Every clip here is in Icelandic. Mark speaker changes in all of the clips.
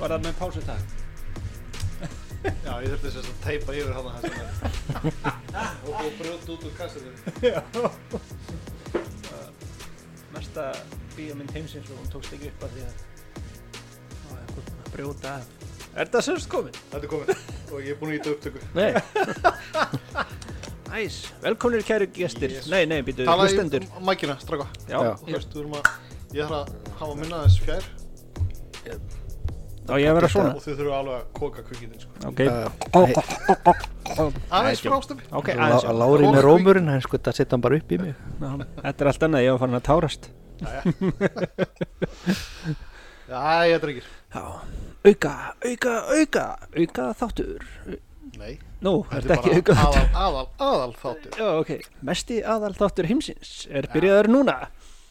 Speaker 1: Var um það með pásutak?
Speaker 2: Já, ég þurfti þess að teipa yfir hana það sem er og búið brjótt út úr kassetunum.
Speaker 1: Já. Mesta bíómynd heimsins og hún tókst ekki upp að því að það var eitthvað búin að brjóta af. Er það sérst komin?
Speaker 2: Þetta er komin og ég er búin að íta upptöku.
Speaker 1: Nei. Æs, velkomnir kæru gestir.
Speaker 2: Yes.
Speaker 1: Nei, nei, býtu,
Speaker 2: Talaðu í
Speaker 1: hlustendur.
Speaker 2: m- mækina, straka.
Speaker 1: Já,
Speaker 3: Já.
Speaker 2: Og þú veist, við erum að, ég þarf að hafa minna aðeins fjær
Speaker 1: þá ég að vera svona.
Speaker 2: og þau þurfum alveg að koka kvikindin, sko.
Speaker 1: Ok,
Speaker 3: Uh,
Speaker 2: Aðeins
Speaker 1: ekki.
Speaker 2: frástöfi.
Speaker 1: ok, aðeins.
Speaker 3: Lá-
Speaker 1: já.
Speaker 3: Lárin
Speaker 2: Og-
Speaker 3: er rómurinn, hann sko, það setja hann bara upp í mig
Speaker 1: Ná, Þetta er allt annað, ég var farin að tárast.
Speaker 2: Já, ég drengir.
Speaker 1: Já, auka, auka, auka, auka þáttur.
Speaker 2: Nei,
Speaker 1: Nú, er þetta ekki
Speaker 2: bara
Speaker 1: auka þáttur?
Speaker 2: aðal, aðal, aðal þáttur.
Speaker 1: Já, ok. Mesti aðal þáttur heimsins er byrjaður núna.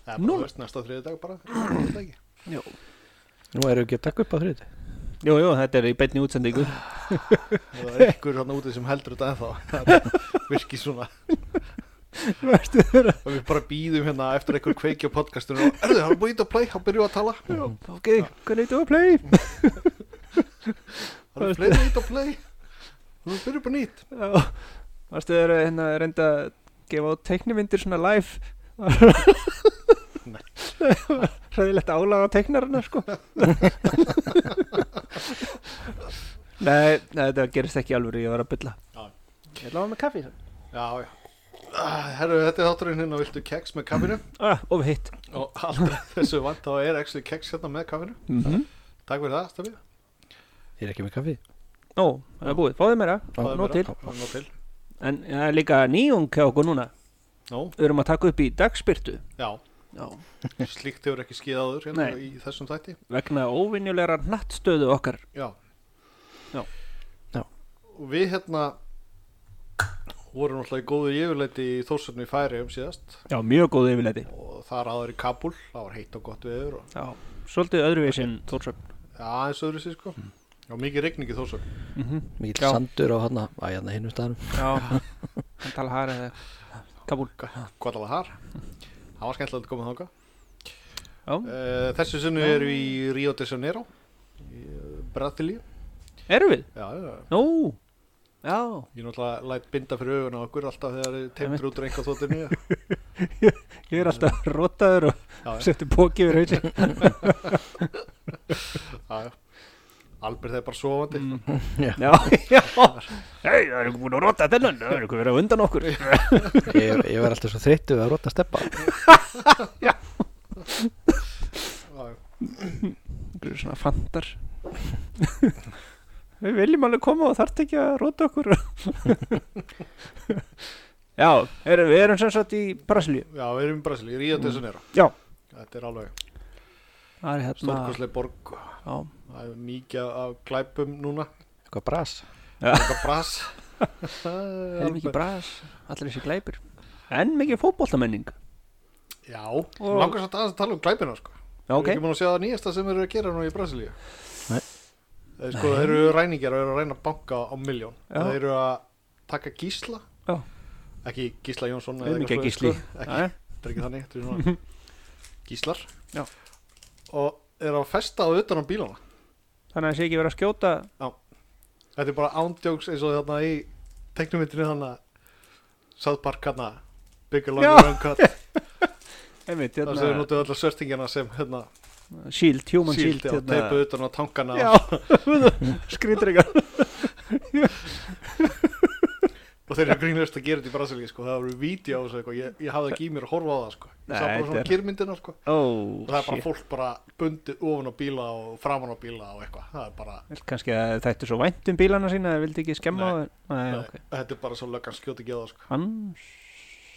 Speaker 2: Það er bara,
Speaker 1: Núna.
Speaker 2: þú veist, næsta þriði dag bara. Ég veit það ekki.
Speaker 1: Jú.
Speaker 3: Nú erum við ekki að taka upp á þriðið
Speaker 1: Jú, jú, þetta er í beinni útsendingu.
Speaker 2: Ef Það er ykkur hann úti sem heldur þetta ennþá. Það virkir svona.
Speaker 1: Verstu þeirra?
Speaker 2: og við bara býðum hérna eftir einhver kveiki á podcastunum og erðu, hann er búin ít að play, hann byrjuð að tala
Speaker 1: Já, ok, hvernig þú að play?
Speaker 2: hann er fleiri ít að play hann byrjuð bara nýtt
Speaker 1: Já, verstu þeirra hérna að reynda að gefa út teiknimyndir svona live?
Speaker 2: Nei.
Speaker 1: Ræðilegt álag á teiknarana, sko. nei, nei, þetta gerist ekki alveg, ég var að bylla.
Speaker 2: Já.
Speaker 1: Ég láði með kaffi.
Speaker 2: já, já Ah, herru, þetta er þátturinn hérna, viltu keks með kaffinu
Speaker 1: Ah, of hitt.
Speaker 2: og aldrei þessu vant þá er actually keks hérna með kaffinu
Speaker 1: Mm -hmm.
Speaker 2: takk fyrir það, Stafi
Speaker 3: Ég er ekki með kaffi
Speaker 1: Ó, það er búið. Fáðu meira.
Speaker 3: Já,
Speaker 1: nóg til.
Speaker 2: Nó til
Speaker 1: En það er líka nýjung hjá okkur núna.
Speaker 2: Nó,
Speaker 1: Við erum að taka upp í dagspyrtu.
Speaker 2: já,
Speaker 1: Já.
Speaker 2: slíkt hefur ekki skíðaður hérna
Speaker 1: Nei.
Speaker 2: í þessum þætti
Speaker 1: Vegna óvinjulegra nattstöðu okkar.
Speaker 2: Já.
Speaker 1: Já.
Speaker 3: Já.
Speaker 2: Og við hérna vorum alltaf í góðu yfirleiti í Þórsarni í Færiðum síðast
Speaker 1: Já, mjög góð yfirleiti.
Speaker 2: og þar áður í Kabul, það var heitt og gott viður og
Speaker 1: Já. Svolítið öðruvís en Þórsöfn.
Speaker 2: Já, eins og öðru sér sko
Speaker 1: Mm.
Speaker 2: Já, mikið regning í þórsögn
Speaker 3: Mikið
Speaker 1: Já.
Speaker 3: sandur á hann að hérna hinnum staðanum
Speaker 1: Já. Hann tala hær eða Kabul.
Speaker 2: Hvað alveg þar? Það var skemmtilegt að koma þáka
Speaker 1: Mm. Já.
Speaker 2: Þessu sunnu eru í Rio de Janeiro í eh, Brasilíu
Speaker 1: Erum við?
Speaker 2: Já, já,
Speaker 1: Nú. Já.
Speaker 2: ég náttúrulega læt binda fyrir augun á okkur alltaf þegar þið
Speaker 1: Einmitt.
Speaker 2: teimtur út úr einhvað þóttinu
Speaker 1: Ég er alltaf rótaður og
Speaker 2: Já, já,
Speaker 1: settu bóki yfir hausin.
Speaker 2: já, já Albert er bara sofandi
Speaker 1: Mm. Já, já. Hei, það er ekki búin að róta þennan. Það er ekki verið að undan okkur.
Speaker 3: Ég, ég verð alltaf svo þreyttu að rota steppa
Speaker 2: Já, já.
Speaker 1: Þú eru svona fantar Við viljum alveg koma og þarft ekki að róta okkur Já, er, við erum sem sagt í Brasilíu
Speaker 2: Já, við erum í Brasilíu, í Rio de Janeiro
Speaker 1: Já,
Speaker 2: Þetta er alveg
Speaker 1: það er hérna
Speaker 2: stórkoslega borg
Speaker 1: já,
Speaker 2: Það er mikið af glæpum núna
Speaker 3: Eitthvað bras
Speaker 2: Eitthvað bras
Speaker 1: Það er mikið bras, allir þessi glæpir En mikið fótboltamenning
Speaker 2: Já, langar samt aðeins að tala um glæpina sko.
Speaker 1: Já, ok,
Speaker 2: Ég er ekki múin að sjá það nýjasta sem þeir eru að gera nú í Brasilíu
Speaker 3: Nei.
Speaker 2: Þeir sko, þeir eru ræningjar og eru að reyna að banka á miljón
Speaker 1: Já.
Speaker 2: Þeir eru að taka gísla
Speaker 1: Já.
Speaker 2: Ekki gísla Jónsson eða
Speaker 1: auðvitað
Speaker 2: eitthvað
Speaker 1: gísli
Speaker 2: svoleiðis, sko. Ekki,
Speaker 1: Jæja.
Speaker 2: þetta er ekki þannig, þetta er svona gíslar
Speaker 1: Já.
Speaker 2: Og eru að festa á utan á bílana
Speaker 1: Þannig að það sé ekki verið að skjóta
Speaker 2: Þetta er bara ándjóks eins og þarna í teknumyndinu þarna South Park hérna, hana Bigger
Speaker 1: Já. Hérna.
Speaker 2: Longer Uncut
Speaker 1: Einmitt,
Speaker 2: þar sem við
Speaker 1: hérna,
Speaker 2: notuðu allar sörtingina sem hérna
Speaker 1: Shield, Human Shield, hérna.
Speaker 2: síld og teipuð utan á tankana
Speaker 1: Já, skrýtur eitthvað
Speaker 2: og þeir eru grínlöst að gera þetta í Brasilíu sko. það voru vídeo á þessu eitthvað ég, ég hafði ekki í mér að horfa á það sko.
Speaker 1: Nei,
Speaker 2: Ég sá bara
Speaker 1: þetta
Speaker 2: svona
Speaker 1: er-
Speaker 2: kyrmyndina sko.
Speaker 1: Ó,
Speaker 2: og það er bara
Speaker 1: shit
Speaker 2: fólk bara bundið ofan á bíla og framan á bíla og eitthvað það er bara,
Speaker 1: Kanski að þættu svo vænt um bílana sína Það vildi ekki skemma á
Speaker 2: Nei.
Speaker 1: þeir Nei, ok
Speaker 2: þetta er bara svo löggan skjóti ekki á það sko.
Speaker 1: hans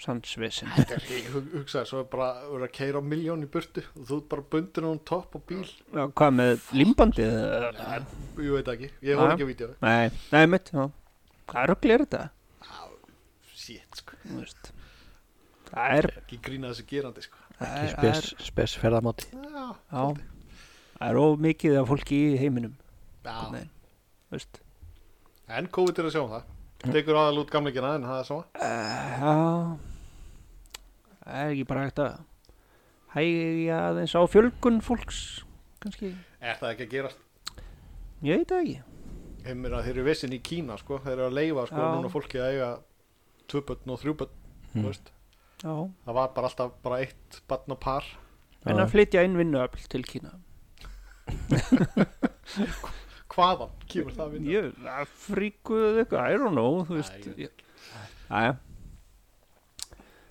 Speaker 1: hans vesen
Speaker 2: Þetta er- ég hug- hugsaði, svo er bara verið að keira miljón í burtu og þú ert bara bundin á um topp á bíl
Speaker 1: Já, hvað með limbandið eða?
Speaker 2: ég veit ekki, ég horf
Speaker 1: Nei.
Speaker 2: ekki á vídeo
Speaker 1: nei, nei, mitt já. hvað ruggli er þetta
Speaker 2: shit, sko.
Speaker 1: Þú veist. það er,
Speaker 2: ekki grína þessu gerandi sko.
Speaker 1: það er, það
Speaker 3: Spes, spes ferðamáti
Speaker 2: já,
Speaker 1: er já, það er of mikið af fólki í heiminum
Speaker 2: já.
Speaker 1: Nei. þú veist.
Speaker 2: en COVID er að sjá um það tekur aðal út gamleikina en það er sama
Speaker 1: Eh, já það er ekki bara hægt að hægja aðeins á fjölgun fólks kannski
Speaker 2: er það ekki að gerast
Speaker 1: Ég veit það ekki.
Speaker 2: Heimir að þeir eru vesinn í Kína sko, þeir eru að leifa sko
Speaker 1: Já. Hmm.
Speaker 2: núna fólki að eiga tvö börn og þrjú börn, þú
Speaker 3: Mm.
Speaker 2: veist.
Speaker 1: Já.
Speaker 2: Það var bara alltaf bara eitt barn og par.
Speaker 1: En að flytja inn vinnuöfl til Kína.
Speaker 2: Hvaðan kemur það að vinna?
Speaker 1: Ég, að fríkuðu eitthvað, I don't know, þú veist.
Speaker 2: Æ,
Speaker 1: ég- Æja.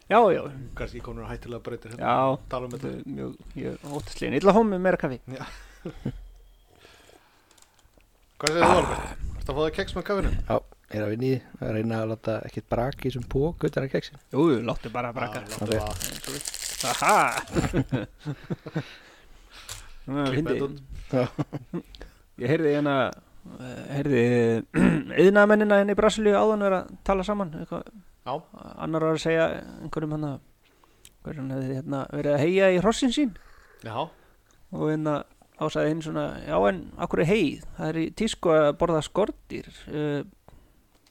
Speaker 1: Já, já,
Speaker 2: Kanski konur hættilega breytir hérna.
Speaker 1: já,
Speaker 2: Talum
Speaker 1: þetta
Speaker 2: þetta.
Speaker 1: er mjög, ég er óttaslegin. Ég ætla að hóma með meira kaffi.
Speaker 2: Hvað segir þú Albert? Ertu að fá það keks með kafinu?
Speaker 3: er að vinni að reyna að láta ekkert braki í þessum pók utan að keksin
Speaker 1: Jú, láttu bara að braka.
Speaker 2: Já, láttu
Speaker 1: Ah.
Speaker 2: það.
Speaker 1: Aha! Ná,
Speaker 2: Klippa
Speaker 1: fyndi.
Speaker 2: þetta út.
Speaker 1: Ég heyrði hérna eh, heyrði yðnaðmennina henni í Brasilíu áðan vera að tala saman eitthvað,
Speaker 2: Já.
Speaker 1: annar var að segja einhverjum hann að hverjum hefði hérna verið að heia í hrossin sín
Speaker 2: Já,
Speaker 1: og hérna ásæði hinn svona já en akkur er heið, það er í tísku að borða skortir uh,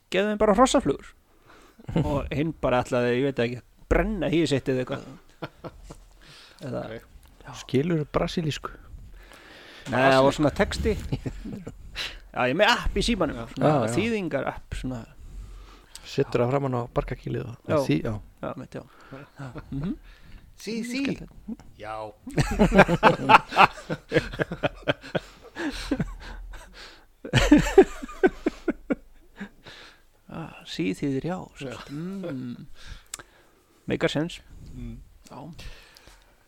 Speaker 1: geðum bara hrossaflugur og hinn bara ætlaði, ég veit ekki brenna hýði sitt eða eitthvað eða,
Speaker 2: Ok.
Speaker 3: skilur brasilísku
Speaker 1: Nei, það var svona texti Já, ég er með app í símanum svona,
Speaker 3: Já, já.
Speaker 1: Þýðingar app svona,
Speaker 3: setur það framann á barkakílið og-
Speaker 1: Já.
Speaker 3: og því, já,
Speaker 1: já, mitt, já. Já, mm
Speaker 2: sí, sí. Já.
Speaker 1: ah, Sí þýðir já, já. Mm. Make a sense
Speaker 2: Mm.
Speaker 1: Já,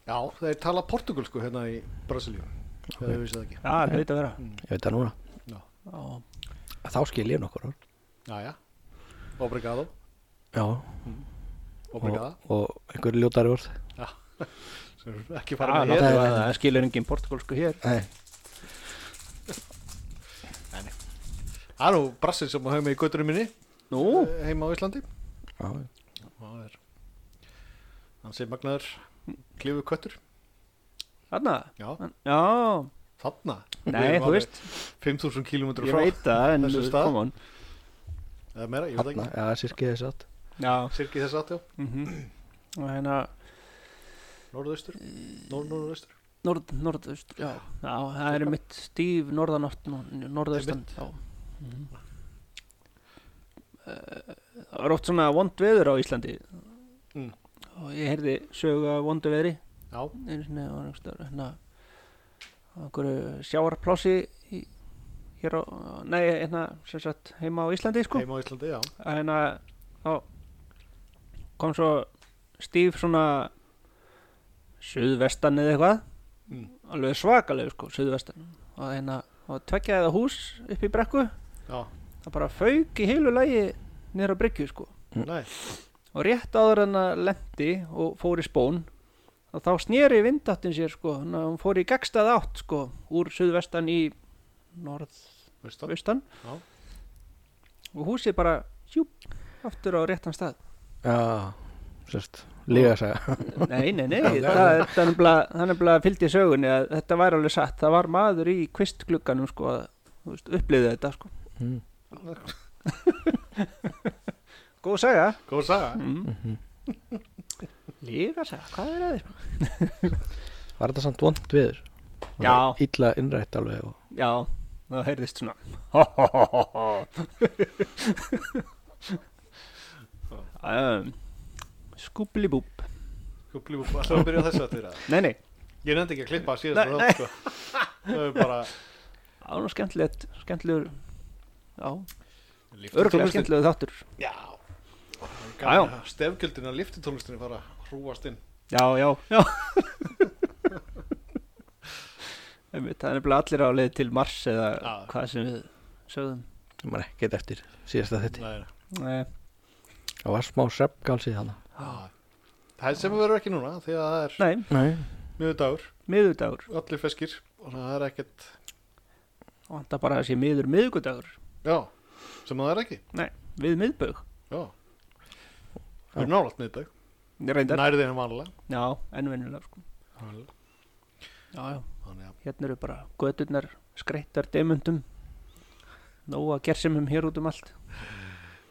Speaker 2: Já, þeir tala portugalsku hérna í Brasilíu. Það er vissið ekki.
Speaker 1: já það veit að vera
Speaker 3: ég veit það núna
Speaker 1: já.
Speaker 3: að þá skil ég nokkur orð.
Speaker 2: Já, já. Obrigado.
Speaker 3: já,
Speaker 2: Obrigado.
Speaker 3: og, og einhver ljótari orð
Speaker 2: Sem eru ekki
Speaker 1: Já,
Speaker 2: farið með
Speaker 1: náttúrulega,
Speaker 2: hér.
Speaker 1: Ah, Það skilur engin portugalsku hér
Speaker 3: Nei.
Speaker 2: Það er nú Brasil sem maður hefur með í göttunum minni
Speaker 1: Nú,
Speaker 2: eh, heima á Íslandi.
Speaker 3: Já, já.
Speaker 2: Það er, hann segir magnaður klifu köttur.
Speaker 1: þarna
Speaker 2: Já,
Speaker 1: Já,
Speaker 2: þarna. Við
Speaker 1: nei,
Speaker 2: erum
Speaker 1: þú
Speaker 2: alveg
Speaker 1: veist
Speaker 2: 5.000 km
Speaker 1: Ég
Speaker 2: frá.
Speaker 1: veit það, en
Speaker 2: þessum stað.
Speaker 1: come on
Speaker 2: Eða meira, ég veit
Speaker 3: Þarna,
Speaker 2: ekki.
Speaker 3: já, sirkið þess að
Speaker 1: Já,
Speaker 2: Sirki þess aðtjá,
Speaker 1: mhm Og hérna,
Speaker 2: norðaustur, norð, norðaustur.
Speaker 1: norð, norðaust Já, já það er mitt stíf norðanátt, norðaustan
Speaker 2: Einmitt.
Speaker 1: Já Mhm. Eh, Það var oft svona vond veður á Íslandi
Speaker 2: Mm.
Speaker 1: og ég heyrði sögu af vondu veðri
Speaker 2: Já,
Speaker 1: einu sinni var einhverstaðar hérna á einhverju sjáarplássi í, hér á, nei, hérna sem sagt heima á Íslandi sko
Speaker 2: heima á Íslandi, já.
Speaker 1: að hérna þá kom svo stíf svona suðvestan eða eitthvað
Speaker 2: Mm.
Speaker 1: alveg svakalegu sko, suðvestan og hérna, og tveggja eða hús upp í brekku
Speaker 2: Já,
Speaker 1: það bara fauk í heilu lægi nýra brekju sko
Speaker 3: Mm.
Speaker 2: nei,
Speaker 1: og rétt áður en að lendi og fór í spón að þá sneri vindáttin sér sko þannig að hún fór í gegstað átt sko úr suðvestan í
Speaker 2: veist það.
Speaker 1: norðvestan
Speaker 2: Já.
Speaker 1: og húsið bara hjúp aftur á réttan stað
Speaker 3: já, sérst, líga að segja
Speaker 1: Nei, nei, nei,
Speaker 3: Já,
Speaker 1: það er- það er nefnilega- það er nefnilega fylgdi sögunni að þetta væri alveg satt það var maður í kvistglugganum sko að þú veist, upplýði þetta sko
Speaker 3: Mm.
Speaker 1: Góð saga
Speaker 2: Góð saga.
Speaker 1: mm. Líka saga, hvað er að þér?
Speaker 3: var þetta samt vond viður
Speaker 1: Já.
Speaker 3: illa innrætt alveg og
Speaker 1: Já, það heyrðist svona um, um, Skúblibúb
Speaker 2: Kúplíf og alltaf að byrja á þessu að þeirra.
Speaker 1: Nei, nei,
Speaker 2: Ég nefndi ekki að klippa að
Speaker 1: Nei,
Speaker 2: síðast með það, sko. Það er bara...
Speaker 1: það var nú skemmtilegt skemmtilegur Já,
Speaker 2: lyfti
Speaker 1: örglega
Speaker 2: tónlistin.
Speaker 1: skemmtilegur þáttur
Speaker 2: Já.
Speaker 1: Já,
Speaker 2: Gaman að Stefgjöldin að liftutónlistinni fara að hrúast inn.
Speaker 1: Já, já, já Einmitt, Það er nefnilega allir á leið til Mars eða
Speaker 2: Já.
Speaker 1: hvað sem við sögðum
Speaker 3: maður ekkert eftir síðasta þetta
Speaker 2: Nei,
Speaker 1: Nei,
Speaker 3: það var smá seppgalsið hana
Speaker 2: Já. Það sem við verðum ekki núna, því að það er
Speaker 1: Nei
Speaker 3: Nei.
Speaker 2: miðudagur,
Speaker 1: miðudagur
Speaker 2: allir feskir og það er ekkert,
Speaker 1: Vanda bara að sé miður miðugudagur
Speaker 2: já, sem það er ekki,
Speaker 1: Nei, við miðbög
Speaker 2: já. Við erum nálaðt miðdag,
Speaker 1: Reyndar
Speaker 2: nærðið en vanlega.
Speaker 1: Já, ennvenjulega sko Já, já,
Speaker 2: Þannig að,
Speaker 1: hérna eru bara göturnar skreittar demundum Nóa gersemum hér út um allt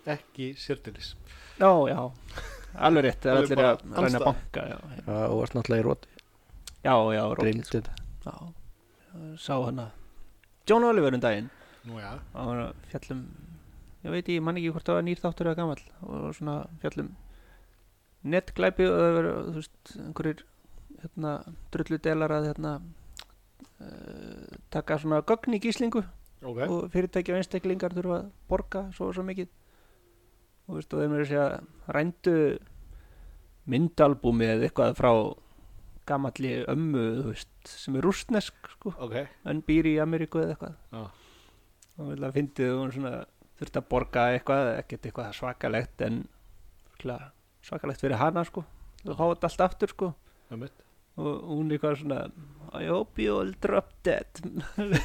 Speaker 2: ekki sérdilis.
Speaker 1: Já, já, alveg rétt Það er
Speaker 2: Alveg
Speaker 1: allir
Speaker 2: bara
Speaker 1: að reyna
Speaker 2: andstæða.
Speaker 1: að banka Já, já,
Speaker 3: Já, og varst náttúrulega í róti
Speaker 1: sko. já, já, rótið,
Speaker 3: Dreymdi þetta.
Speaker 1: Já, sá hana John Oliver um daginn
Speaker 2: Nú já,
Speaker 1: og hann var að fjallum ég veit ég, man ekki hvort það var nýr þáttur eða gamall og svona fjallum netglæpi og það verið þú veist, einhverjir hérna, drulludelar að hérna, uh, taka svona gögn í gíslingu
Speaker 2: ok
Speaker 1: og fyrirtæki og einstaklingar þurfa að borga svo og svo mikið og, veist, og þeir mér sé að rændu myndalbúmi eða eitthvað frá gamalli ömmu þú veist, sem er rústnesk sko,
Speaker 2: Ok,
Speaker 1: en býr í Ameríku eða eitthvað
Speaker 2: Já.
Speaker 1: og vil að fyndið og hún svona þurfti að borga eitthvað ekkert eitthvað svakalegt en örugglega svakalegt fyrir hana sko þú fá þetta allt aftur sko
Speaker 2: það mitt
Speaker 1: og hún eitthvað svona I hope you all drop dead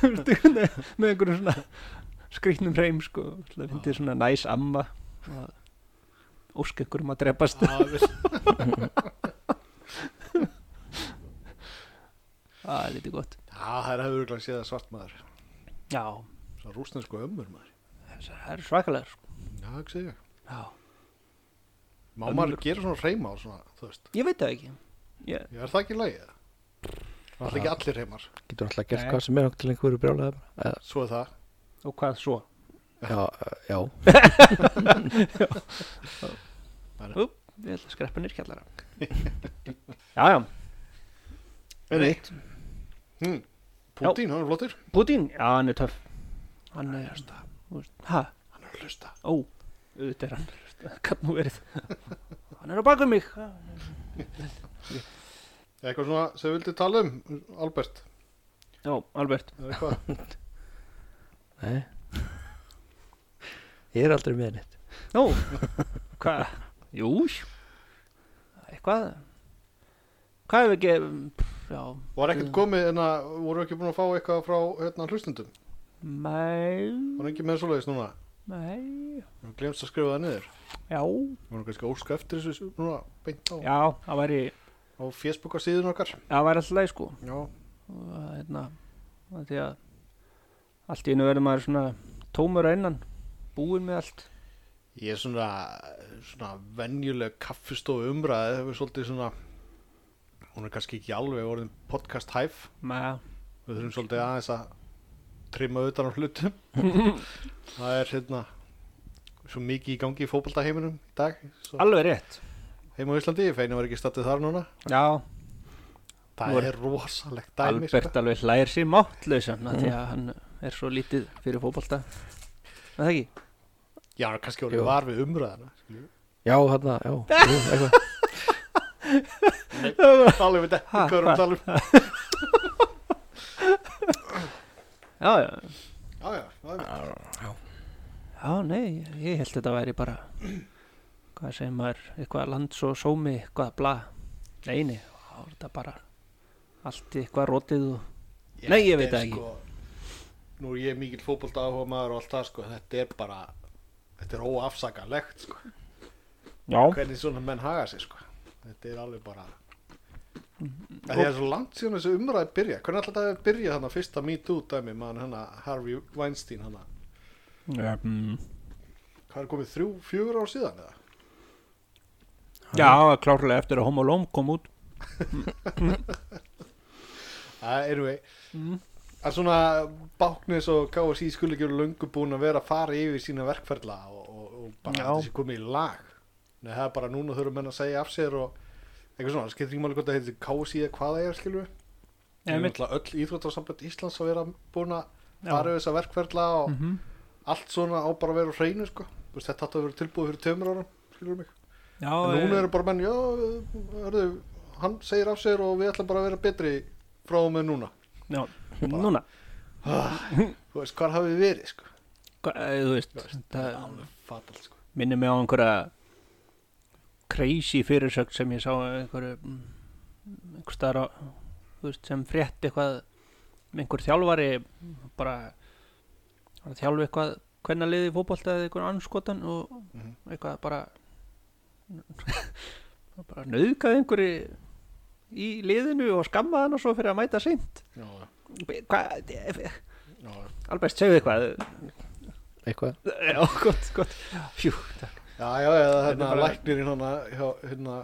Speaker 1: með einhverjum svona skrýtnum reym sko það finnir svona næs amma og ósk einhverjum að drepast
Speaker 2: Það mitt
Speaker 1: það er lítið gott
Speaker 2: Já, það er hefur örugglega séð að svart maður
Speaker 1: já,
Speaker 2: Svona rústensku ömmur maður
Speaker 1: það er svakalega sko.
Speaker 2: Já, ekki segja
Speaker 1: já.
Speaker 2: Má
Speaker 1: Ömmur.
Speaker 2: maður gera svona reyma á svona, þú veist
Speaker 1: ég veit það ekki ég,
Speaker 2: Já, er það ekki lægið? Það er ekki allir reymar
Speaker 3: Getur alltaf gert
Speaker 1: Nei.
Speaker 3: hvað sem er þangað til einhverju brjálega uh,
Speaker 2: Svo er það
Speaker 1: og hvað svo
Speaker 3: Já, eh, já
Speaker 1: við ætlum að skreppa nýr kjallara já, já,
Speaker 2: Enni hm. Putin, hann er flottur
Speaker 1: Putin já, hann er töff hann er, þú veist, hæ,
Speaker 2: Hann er að hlusta
Speaker 1: ó, auðvitað er hann hvað nú verið hann er á baku mig já
Speaker 2: Eitthvað svona sem við vildi tala um, Albert
Speaker 1: Já, Albert
Speaker 2: eða eitthvað
Speaker 3: Nei Ég er aldrei með neitt
Speaker 1: Nú, hvað? Jú Eitthvað Hvað hefur ekki pff, Já,
Speaker 2: Var ekkert komið en að voru ekki búin að fá eitthvað frá hérna hlustendum
Speaker 1: mæ
Speaker 2: Var ekki með svoleiðis núna
Speaker 1: Mæ
Speaker 2: Hún glemst að skrifa það niður
Speaker 1: Já,
Speaker 2: Hún er kannski að óska eftir þessu núna beint á,
Speaker 1: já, það væri
Speaker 2: á Facebooka síðun okkar
Speaker 1: Það væri alltaf leið sko
Speaker 2: Já
Speaker 1: Og það, hérna, það Því að Allt í einu verður maður svona Tómur að innan Búinn með allt
Speaker 2: Ég er svona, svona venjuleg kaffistofu umræði hefur svolítið svona Hún er kannski ekki alveg orðin podcast hæf
Speaker 1: Mæ
Speaker 2: Við þurfum svolítið aðeins að trimma utan á hlutum. það er hérna svo mikið í gangi í fótballtaheiminum í dag. Svo
Speaker 1: Sko. Alveg rétt
Speaker 2: heima á Íslandi, feinu var ekki stattið þar núna.
Speaker 1: Já,
Speaker 2: Það
Speaker 1: Nú er-
Speaker 2: er rosalegt dæmi. sko.
Speaker 1: Albert alveg hlægir sér máttlausan mm. Því að hann er svo lítið fyrir fótbolta Er Það ekki
Speaker 2: Já, hann er kannski orðið
Speaker 3: Jú.
Speaker 2: var við umræðina. skilju.
Speaker 3: Já, þarna, já, jú, eitthvað
Speaker 2: Alveg veit ekki
Speaker 1: Ha,
Speaker 2: hvað erum
Speaker 1: hvað?
Speaker 2: að tala um.
Speaker 1: Já, já,
Speaker 2: Já, já, það er-
Speaker 1: Já, nei, ég held þetta væri bara hvað sem er eitthvað lands og sómi, eitthvað bla neini, þá er þetta bara allt í eitthvað rótið og Nei, ég veit
Speaker 2: þetta
Speaker 1: það
Speaker 2: er
Speaker 1: ekki.
Speaker 2: Sko, nú er ég mikill fótballta áhuga maður og allt það, sko. Þetta er bara, þetta er óafsakalegt, sko.
Speaker 1: Já,
Speaker 2: Hvernig svona menn haga sig, sko. Þetta er alveg bara... Það er svo langt síðan þessu umræði byrja. Hvernig alltaf það hefði byrjað þannig fyrsta Me Too dæmi mann hann Harvey Weinstein hann
Speaker 1: um,
Speaker 2: Hvað er komið þrjú, fjögur ár síðan eða?
Speaker 1: já, klárlega eftir að Homo Lom kom út
Speaker 2: Það erum við.
Speaker 1: Mm.
Speaker 2: Að svona báknis og KSI skulle ekki vera löngu búin að vera að fara yfir sína verkferðla og, og, og bara
Speaker 1: Já.
Speaker 2: að þessi komið í lag. Nei, það er bara núna þurfum menn að segja af sér og eitthvað svona. Það skiptir ekki máli hvort það heitir KSI eða hvað það er skilur við. Það er
Speaker 1: Einmitt.
Speaker 2: náttúrulega öll íþróttarsambönd Íslands að vera búin að
Speaker 1: Já.
Speaker 2: fara yfir þessa verkferðla og
Speaker 1: Mhm.
Speaker 2: allt svona á bara að vera á hreinu sko. Þú veist, þetta átti að vera tilbúið fyrir tömur ára skilur mig,
Speaker 1: Já,
Speaker 2: en
Speaker 1: eh,
Speaker 2: núna eru bara menn já, eh, hörðu, hann segir af sér og við ætlum bara að vera betri frá og með núna
Speaker 1: já, núna
Speaker 2: þú veist, hvar hafið þið verið sko
Speaker 1: hva, eh, þú veist,
Speaker 2: er
Speaker 1: það
Speaker 2: alveg fatal sko
Speaker 1: minnir mig á einhverja crazy fyrirsögn sem ég sá einhverju einhver staðar á þú veist, sem frétt eitthvað um einhver þjálfari bara var að þjálfa eitthvað hvernig liði fótbolta eða einhver anskotan og
Speaker 2: Mhm.
Speaker 1: eitthvað bara bara nöðgað einhverju í liðinu og skammaði hann og svo fyrir að mæta seint
Speaker 2: já,
Speaker 1: Hvað, eh,
Speaker 2: já,
Speaker 1: Albert, segðu eitthvað
Speaker 3: Eitthvað
Speaker 1: Já, gott, gott Fjú, takk
Speaker 2: já, já, eða
Speaker 1: Þetta er
Speaker 2: hérna
Speaker 1: bara-
Speaker 2: læknirinn hérna, hana hjá, hérna,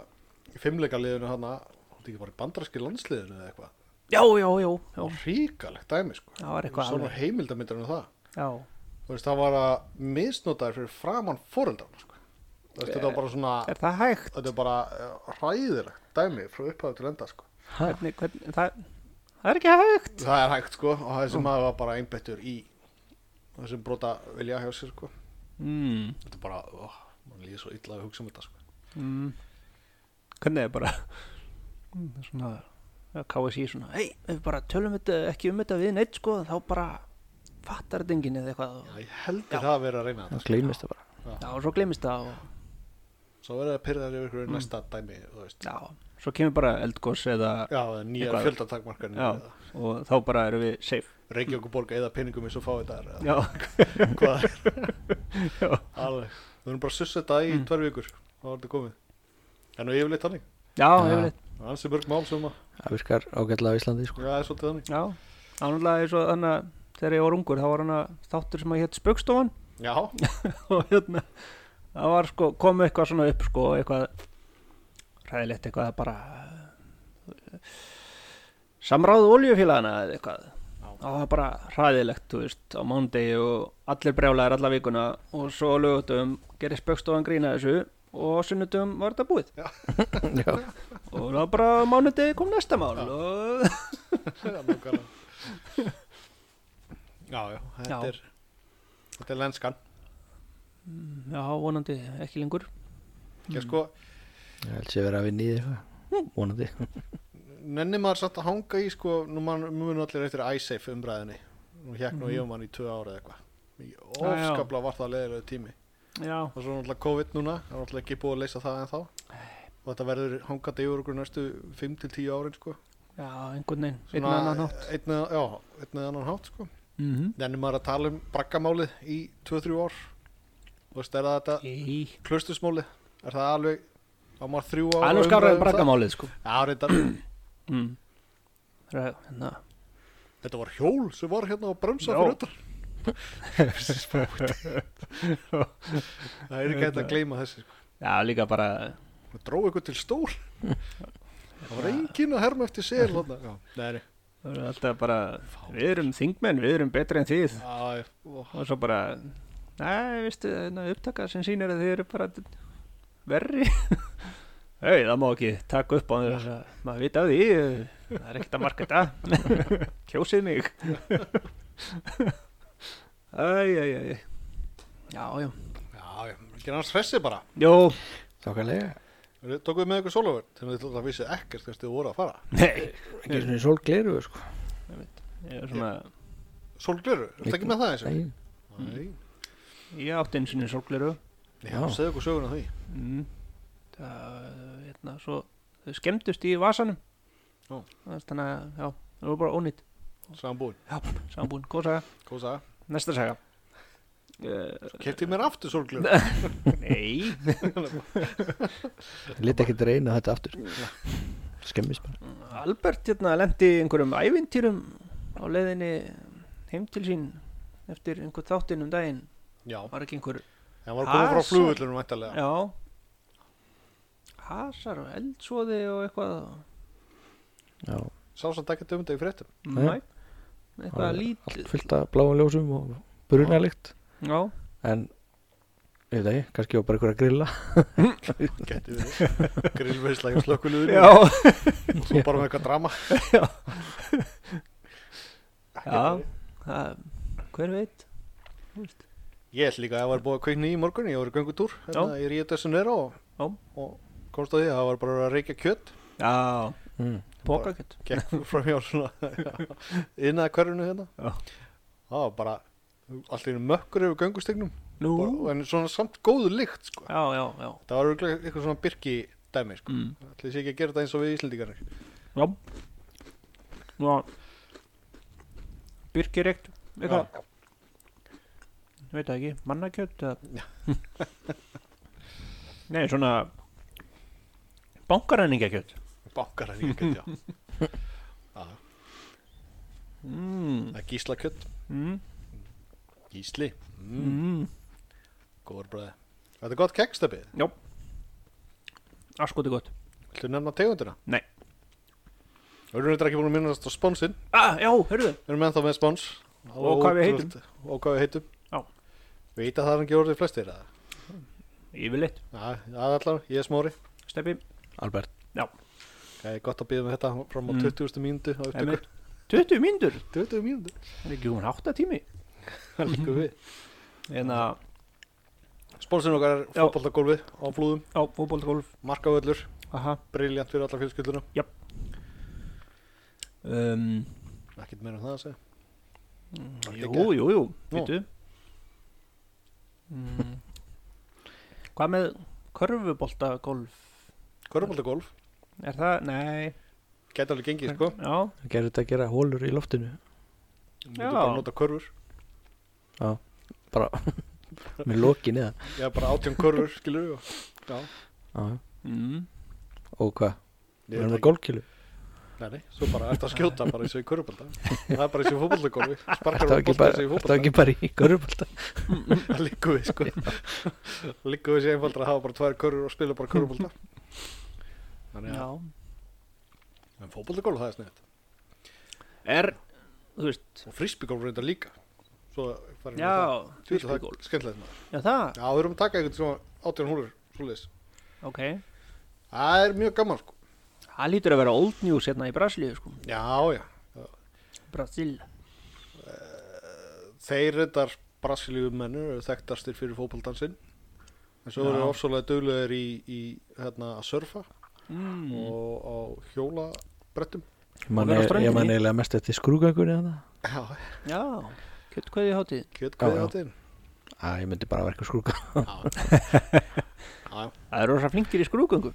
Speaker 2: fimmleika liðinu hana hún er ekki bara í bandarski landsliðinu eða eitthvað
Speaker 1: já, já, já, já.
Speaker 2: ríkalegt dæmi sko
Speaker 1: það var eitthvað
Speaker 2: svona
Speaker 1: alveg
Speaker 2: heimildamindur en það
Speaker 1: já,
Speaker 2: þú veist það var að misnotaði fyrir framann foreldran sko. Þú veist, þetta var bara svona
Speaker 1: Eh, er það hægt
Speaker 2: þetta er bara eh, hræðilegt dæmi frá upphæðu til enda sko.
Speaker 1: hvernig, hvernig, það, það er ekki hægt
Speaker 2: það er hægt sko og þessi maður var bara einbettur í þessum brota vilja hjá sér sko.
Speaker 1: mm.
Speaker 2: þetta er bara, ó, mann líður svo illa að hugsa um þetta sko.
Speaker 1: Mm. hvernig er bara mm, svona að KSI svona, hei, ef við bara tölum þetta, ekki um þetta við neitt sko, þá bara fattar þetta enginn eða eitthvað og,
Speaker 2: Já, ég heldur það að vera að reyna þetta
Speaker 3: það gleymist það bara
Speaker 1: já, og svo glemist það og,
Speaker 2: svo verður það pyrraður yfir ykkur næsta dæmi þú veist.
Speaker 1: já, svo kemur bara eldgós eða,
Speaker 2: já, eða nýja
Speaker 1: Eitthvað.
Speaker 2: fjöldatakmarkan
Speaker 1: já, og þá bara erum við safe
Speaker 2: Reykjavík og borga eða peningum eins og fáið þar
Speaker 1: já,
Speaker 2: hvað er
Speaker 1: já,
Speaker 2: alveg við erum bara að sussa þetta í mm. tvær vikur þá er þetta komið en við yfirleitt þannig
Speaker 1: já, hefur
Speaker 2: Það er ansi mörg mál sem að
Speaker 3: það virkar ágætlega á Íslandi sko.
Speaker 2: já, það er svolítið þannig
Speaker 1: já, ánúrulega er svo þannig að þegar ég var ungur, þá var hann að þáttur sem að hétt Spaukstofan
Speaker 2: já,
Speaker 1: og hérna það var sko, kom eitthvað svona upp sko, eitthvað ræðilegt eitthvað bara eh, samráðu oljufélagana eða eitthvað og það var bara hræðilegt, þú veist, á mándegi og allir brjálæðir alla vikuna og svo lögutum, gerir spöggstofan grína þessu og á sunnutum var þetta búið
Speaker 3: já,
Speaker 1: og það var bara á mánudegi kom næsta mál og
Speaker 2: já, nákvæmlega. já, já, þetta
Speaker 1: Já.
Speaker 2: er þetta er lenskan
Speaker 1: já, vonandi ekki lengur
Speaker 2: ég sko,
Speaker 3: ég held sér verið að vinni í því
Speaker 1: Hm.
Speaker 3: eitthvað vonandi
Speaker 2: nenni maður satt að hanga í sko, nú mann mun allir eftir iSafe umbræðinni nú hjekk nú ég um hann í tvö ára eða eitthvað
Speaker 1: Ah,
Speaker 2: Mikið
Speaker 1: Já, já.
Speaker 2: ofskaplega var það leðilegu tími
Speaker 1: já,
Speaker 2: og svo náttúrulega COVID núna það er náttúrulega ekki búið að leysa það en þá og þetta verður hangandi yfir okkur næstu 5-10 árin sko
Speaker 1: já, einhvern veginn einn og annan hátt
Speaker 2: einn eða- já, einn eða annan hátt sko
Speaker 1: mm
Speaker 2: nennir maður að tala um braggamálið í 2-3 ár þú veist, er það þetta
Speaker 1: -hmm.
Speaker 2: klustusmálið, er það alveg á maður þrjú ár
Speaker 1: alveg skáraði
Speaker 2: um
Speaker 1: braggamálið sko
Speaker 2: já, reyndar,
Speaker 1: mm. Ræ- hérna.
Speaker 2: þetta var hjól sem var hérna á bremsa
Speaker 1: Já.
Speaker 2: fyrir utan það er ekki hægt að gleyma þessi sko.
Speaker 1: já líka bara
Speaker 2: það dróði ykkur til stól það var engin að herma eftir sel þarna. Já, nei, nei.
Speaker 1: það eru alltaf bara við erum þingmenn, við erum betri en þið
Speaker 2: Já, já. Ó,
Speaker 1: og svo bara nei, veistu, hérna upptaka sem sýnir að þið eru bara verri hei, það má ekki taka upp á þess að maður vita af því það er ekkert að marka þetta kjósið mig æj, æj, æj já, já,
Speaker 2: Já, já, ekki annars hressi bara.
Speaker 1: jú
Speaker 3: þokkalega,
Speaker 2: Eru- Tókuðu með ykkur sólavörn sem þið alltaf vissi ekkert hvert þið voru að fara.
Speaker 1: nei,
Speaker 3: ekki svona sólgleru sko.
Speaker 1: ég er svona
Speaker 2: Sólgleru, ertu ekki með það eins og?
Speaker 3: Nei,
Speaker 2: Nei.
Speaker 1: ég átti einu sinni sorgleru
Speaker 2: Já,
Speaker 3: Já.
Speaker 2: segðu ykkur söguna af því.
Speaker 1: mm. það, hérna, svo þau skemmtust í vasanum
Speaker 2: Ó.
Speaker 1: þannig að, já, það var bara ónýtt
Speaker 2: Sambúin,
Speaker 1: já, sambúin, góð saga,
Speaker 2: hvað sagði?
Speaker 1: næsta saga uh,
Speaker 2: Kefti mér aftur sólgleru.
Speaker 1: nei
Speaker 3: liti ekki reyna þetta aftur skemmist bara
Speaker 1: Albert hérna lendi einhverjum ævintýrum á leiðinni heim til sín eftir einhver þáttinn um daginn
Speaker 2: Já,
Speaker 1: var ekki einhver,
Speaker 2: hann var komið frá
Speaker 1: Hasar.
Speaker 2: flugvöllunum mættalega.
Speaker 1: já hasar og eldsvoði og eitthvað
Speaker 3: já,
Speaker 2: Sá samt ekki um þetta í fréttum.
Speaker 1: næ,
Speaker 3: Nei.
Speaker 1: eitthvað
Speaker 3: allt
Speaker 1: lítið
Speaker 3: fullt af bláum ljósum og brunalikt
Speaker 1: já,
Speaker 3: en, ég veit ekki, kannski var bara einhver að grilla
Speaker 2: Gæti verið. Grillveisla hjá slökkuliður.
Speaker 1: já
Speaker 2: Og svo bara með eitthvað drama.
Speaker 1: Já.
Speaker 2: Ekki
Speaker 1: Já.
Speaker 2: verið.
Speaker 1: það, hver veit Þú veist.
Speaker 2: Ég held líka að það var búið að kveikni í morgun, ég var í göngutúr, hérna, ég ríði þessu nera
Speaker 1: Já.
Speaker 2: og, og komst að því að það var bara að reykja kjött
Speaker 1: já,
Speaker 3: mm.
Speaker 1: pokakett
Speaker 2: gekk fram hjá svona inn að hverfinu hérna
Speaker 1: Já.
Speaker 2: það var bara allt í einu mökkur yfir göngustegnum
Speaker 1: nú,
Speaker 2: Bara- en svona samt góðu lykt sko.
Speaker 1: já, já, já
Speaker 2: það var örugglega eitthvað svona birki dæmi sko.
Speaker 1: mm.
Speaker 2: ætli sé ekki að gera þetta eins og við Íslendingar
Speaker 1: já nú byrkirekt eitthvað ég veit það ekki, mannakjött eða nei, svona bankaræningakjött
Speaker 2: bankar hann ekki já. Já,
Speaker 1: mm. Hmm.
Speaker 2: það er gísla kjött
Speaker 1: mm.
Speaker 2: gísli, mm.
Speaker 1: mm.
Speaker 2: góður bræði þetta er gott kekstabið,
Speaker 1: já askoti gott
Speaker 2: viltu nefna tegundina?
Speaker 1: Nei.
Speaker 2: Við erum þetta ekki búin að minnast á sponsinn
Speaker 1: ah, já, hörðu
Speaker 2: Við erum ennþá með spons
Speaker 1: Og hvað við heitum.
Speaker 2: Og hvað við heitum
Speaker 1: Já.
Speaker 2: Veit að það er ekki orðið flestir eða?
Speaker 1: Yfirleitt,
Speaker 2: Já, það allar, ég er smóri
Speaker 1: steppi
Speaker 3: Albert
Speaker 2: Það er gott að býða með þetta fram á
Speaker 1: Mm.
Speaker 2: 20. mínútu á upptöku.
Speaker 1: einmitt. 20 mínútur,
Speaker 2: 20 mínútu
Speaker 1: það er ekki hún 8 tími
Speaker 2: Það líka við
Speaker 1: En að,
Speaker 2: Sponsin okkar er
Speaker 1: Já.
Speaker 2: fótballtagólfi á flúðum
Speaker 1: já, fótboltagolf
Speaker 2: Markavöllur,
Speaker 1: Aha
Speaker 2: briljant fyrir allar fjölskylduna
Speaker 1: um,
Speaker 2: Ekkert meira um það að segja Það er
Speaker 1: Jú,
Speaker 2: ekki-
Speaker 1: jú, jú,
Speaker 2: Nú.
Speaker 1: býtu mm. Hvað með körfuboltagolf?
Speaker 2: Körfbóltagólf,
Speaker 1: Er það, nei
Speaker 2: gæti alveg gengið sko
Speaker 1: Já,
Speaker 3: Það gerði þetta að gera hólur í loftinu
Speaker 1: Já.
Speaker 2: Þú mútu bara að nota körfur
Speaker 3: með loki neða
Speaker 2: Ég er bara átjón körfur, skilur við og- Já,
Speaker 3: Já, já.
Speaker 1: mm.
Speaker 3: Og hvað?
Speaker 2: ég
Speaker 3: Við erum
Speaker 2: veit
Speaker 3: með
Speaker 2: ekki.
Speaker 3: gólkilu
Speaker 2: Nei, nei, svo bara ert að skjóta bara eins og í körfbólta Það er bara eins og í fótballtagólfi Sparkar á
Speaker 3: Þetta var ekki
Speaker 2: bólta eins
Speaker 3: bara,
Speaker 2: og í
Speaker 3: ertu
Speaker 2: fótballta
Speaker 3: ekki bara í görubólta
Speaker 2: Það líku við sko Líku við sé einfaldra að hafa bara tvær körfur og spila bara körfbólta Þannig
Speaker 1: já
Speaker 2: að, en fótballtagólf það er sniðt
Speaker 1: Er, þú veist,
Speaker 2: og frisbygólf reynda líka svo farin
Speaker 1: já frisbeegolf.
Speaker 2: frisbygólf skemmtilegt maður
Speaker 1: Já, það,
Speaker 2: já við erum að taka eitthvað svona 18 húlur svoleiðis
Speaker 1: ok
Speaker 2: það er mjög gaman sko
Speaker 1: Það lítur að vera old news hérna í Brasilíu, sko
Speaker 2: já já
Speaker 1: Brasil
Speaker 2: þeir reyndar brasilíumennur eru þekktastir fyrir fótboldansinn en svo
Speaker 1: Já.
Speaker 2: eru ofsalega döglegar í, í hérna að surfa
Speaker 1: mm.
Speaker 2: og á hjólabrettum
Speaker 3: Ég man
Speaker 1: Og vera á ströndinni.
Speaker 3: ég man eiginlega mest eftir skrúgangunni að það
Speaker 2: já
Speaker 1: Já, kjött hvað ég hátíð
Speaker 2: kjötkveði
Speaker 3: Já, já.
Speaker 2: á þeim
Speaker 3: Já, ég myndi bara verka skrúga
Speaker 2: já já
Speaker 1: Það eru rosa flinkir í skrúgöngu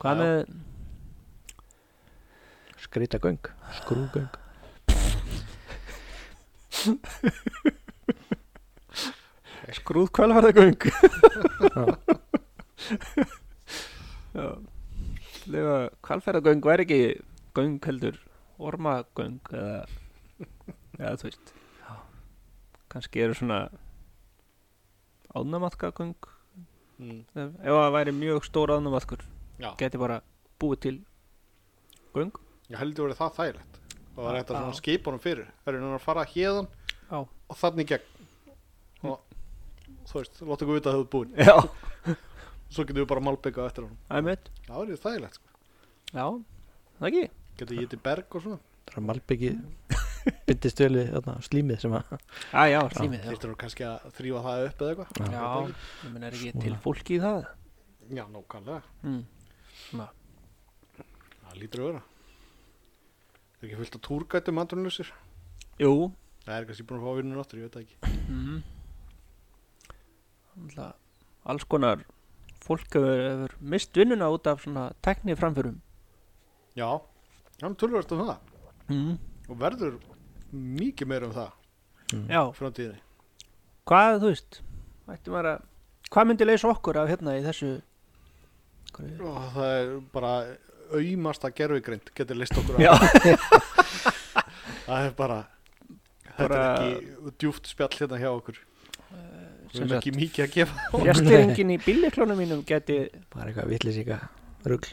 Speaker 1: Hvað
Speaker 2: Já.
Speaker 1: með
Speaker 3: Skreita göng Skrúgöng
Speaker 1: Skrúð kvalvarðagöng Lefa kvalferðagöng væri ekki göng heldur ormagöng eða, eða þú veist kannski eru svona ánamaðkagöng
Speaker 2: Mm,
Speaker 1: ef ef það væri mjög stór ánamaðkur
Speaker 2: já
Speaker 1: geti bara búið til göng
Speaker 2: ég heldur verið það þægilegt og það er eitthvað
Speaker 1: Já.
Speaker 2: svona skipunum fyrir það er að fara hérðan
Speaker 1: Já,
Speaker 2: og þannig gegn og þú veist, láta ykkur vita að það er búin
Speaker 1: já,
Speaker 2: svo getum við bara malbygga eftir hann
Speaker 1: það er mitt
Speaker 2: það er þægilegt, sko.
Speaker 1: Já, það ekki
Speaker 2: getur ég til berg og svona
Speaker 3: Það er malbyggi Bindistöli, þarna, slímið sem að
Speaker 1: Já, já, slímið, já
Speaker 2: þýrtir nú kannski að þrýfa það upp eða eitthvað
Speaker 1: Já, ég menn er ekki til fólki í það
Speaker 2: já, nákvæmlega,
Speaker 1: mm.
Speaker 2: það lítur að vera það er ekki fullt af túrgætum andrunlösir
Speaker 1: Jú,
Speaker 2: það er kannski búin að fá vinnun áttur, ég veit það ekki
Speaker 1: mm. alls konar fólk hefur, hefur mist vinnuna út af svona tekni framförum
Speaker 2: já, hann tölverst um það
Speaker 1: mm.
Speaker 2: og verður mikið meira um það
Speaker 1: já,
Speaker 2: framtíðinni
Speaker 1: hvað þú veist ætti maður að, hvað myndi leysa okkur af hérna í þessu hverju-
Speaker 2: og það er bara auðmasta gerfigrind getur list okkur
Speaker 1: já,
Speaker 2: á það er bara þetta
Speaker 1: Bara-
Speaker 2: er ekki djúft spjall hérna hjá okkur við
Speaker 1: sem
Speaker 2: erum
Speaker 1: sagt
Speaker 2: ekki mikið að gefa
Speaker 1: fjastýringin í bíliklónum mínum geti
Speaker 3: Bara eitthvað vitlisíka Rugl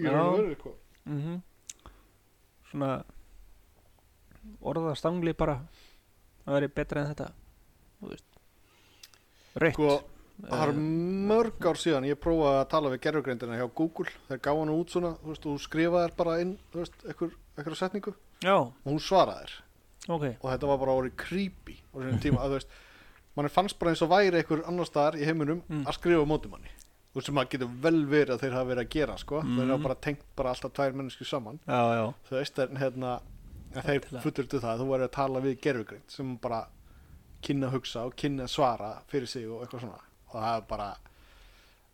Speaker 2: Í raun og veru, sko.
Speaker 1: mm svona orðastangli bara það veri betra en þetta þú veist Rautt
Speaker 2: Sko,
Speaker 1: Eh.
Speaker 2: það er mörg ár síðan ég prófaði að tala við gerfugrindina hjá Google þeir gáði hann út svona, þú veist, og þú skrifaði þér bara inn, þú veist, ekkur, ekkur setningu
Speaker 1: Já,
Speaker 2: og hún svaraði þér
Speaker 1: ok
Speaker 2: og þetta var bara orðið creepy á þessum tíma, að þú veist, mann fannst bara eins og væri ekkur annar staðar í heiminum
Speaker 1: Mm.
Speaker 2: að skrifa á móti manni þú veist, sem að getur vel verið að þeir hafa verið að gera, sko þeir
Speaker 1: Mm.
Speaker 2: hafa bara tengt bara alltaf tvær mennesku saman
Speaker 1: Já, já
Speaker 2: þú veist, en hérna en þeir
Speaker 1: Algjörlega.
Speaker 2: fullurðu það að þú væri að tala við gerfugrind sem bara kynna að hugsa og kynna að svara fyrir sig og eitthvað svona og það er bara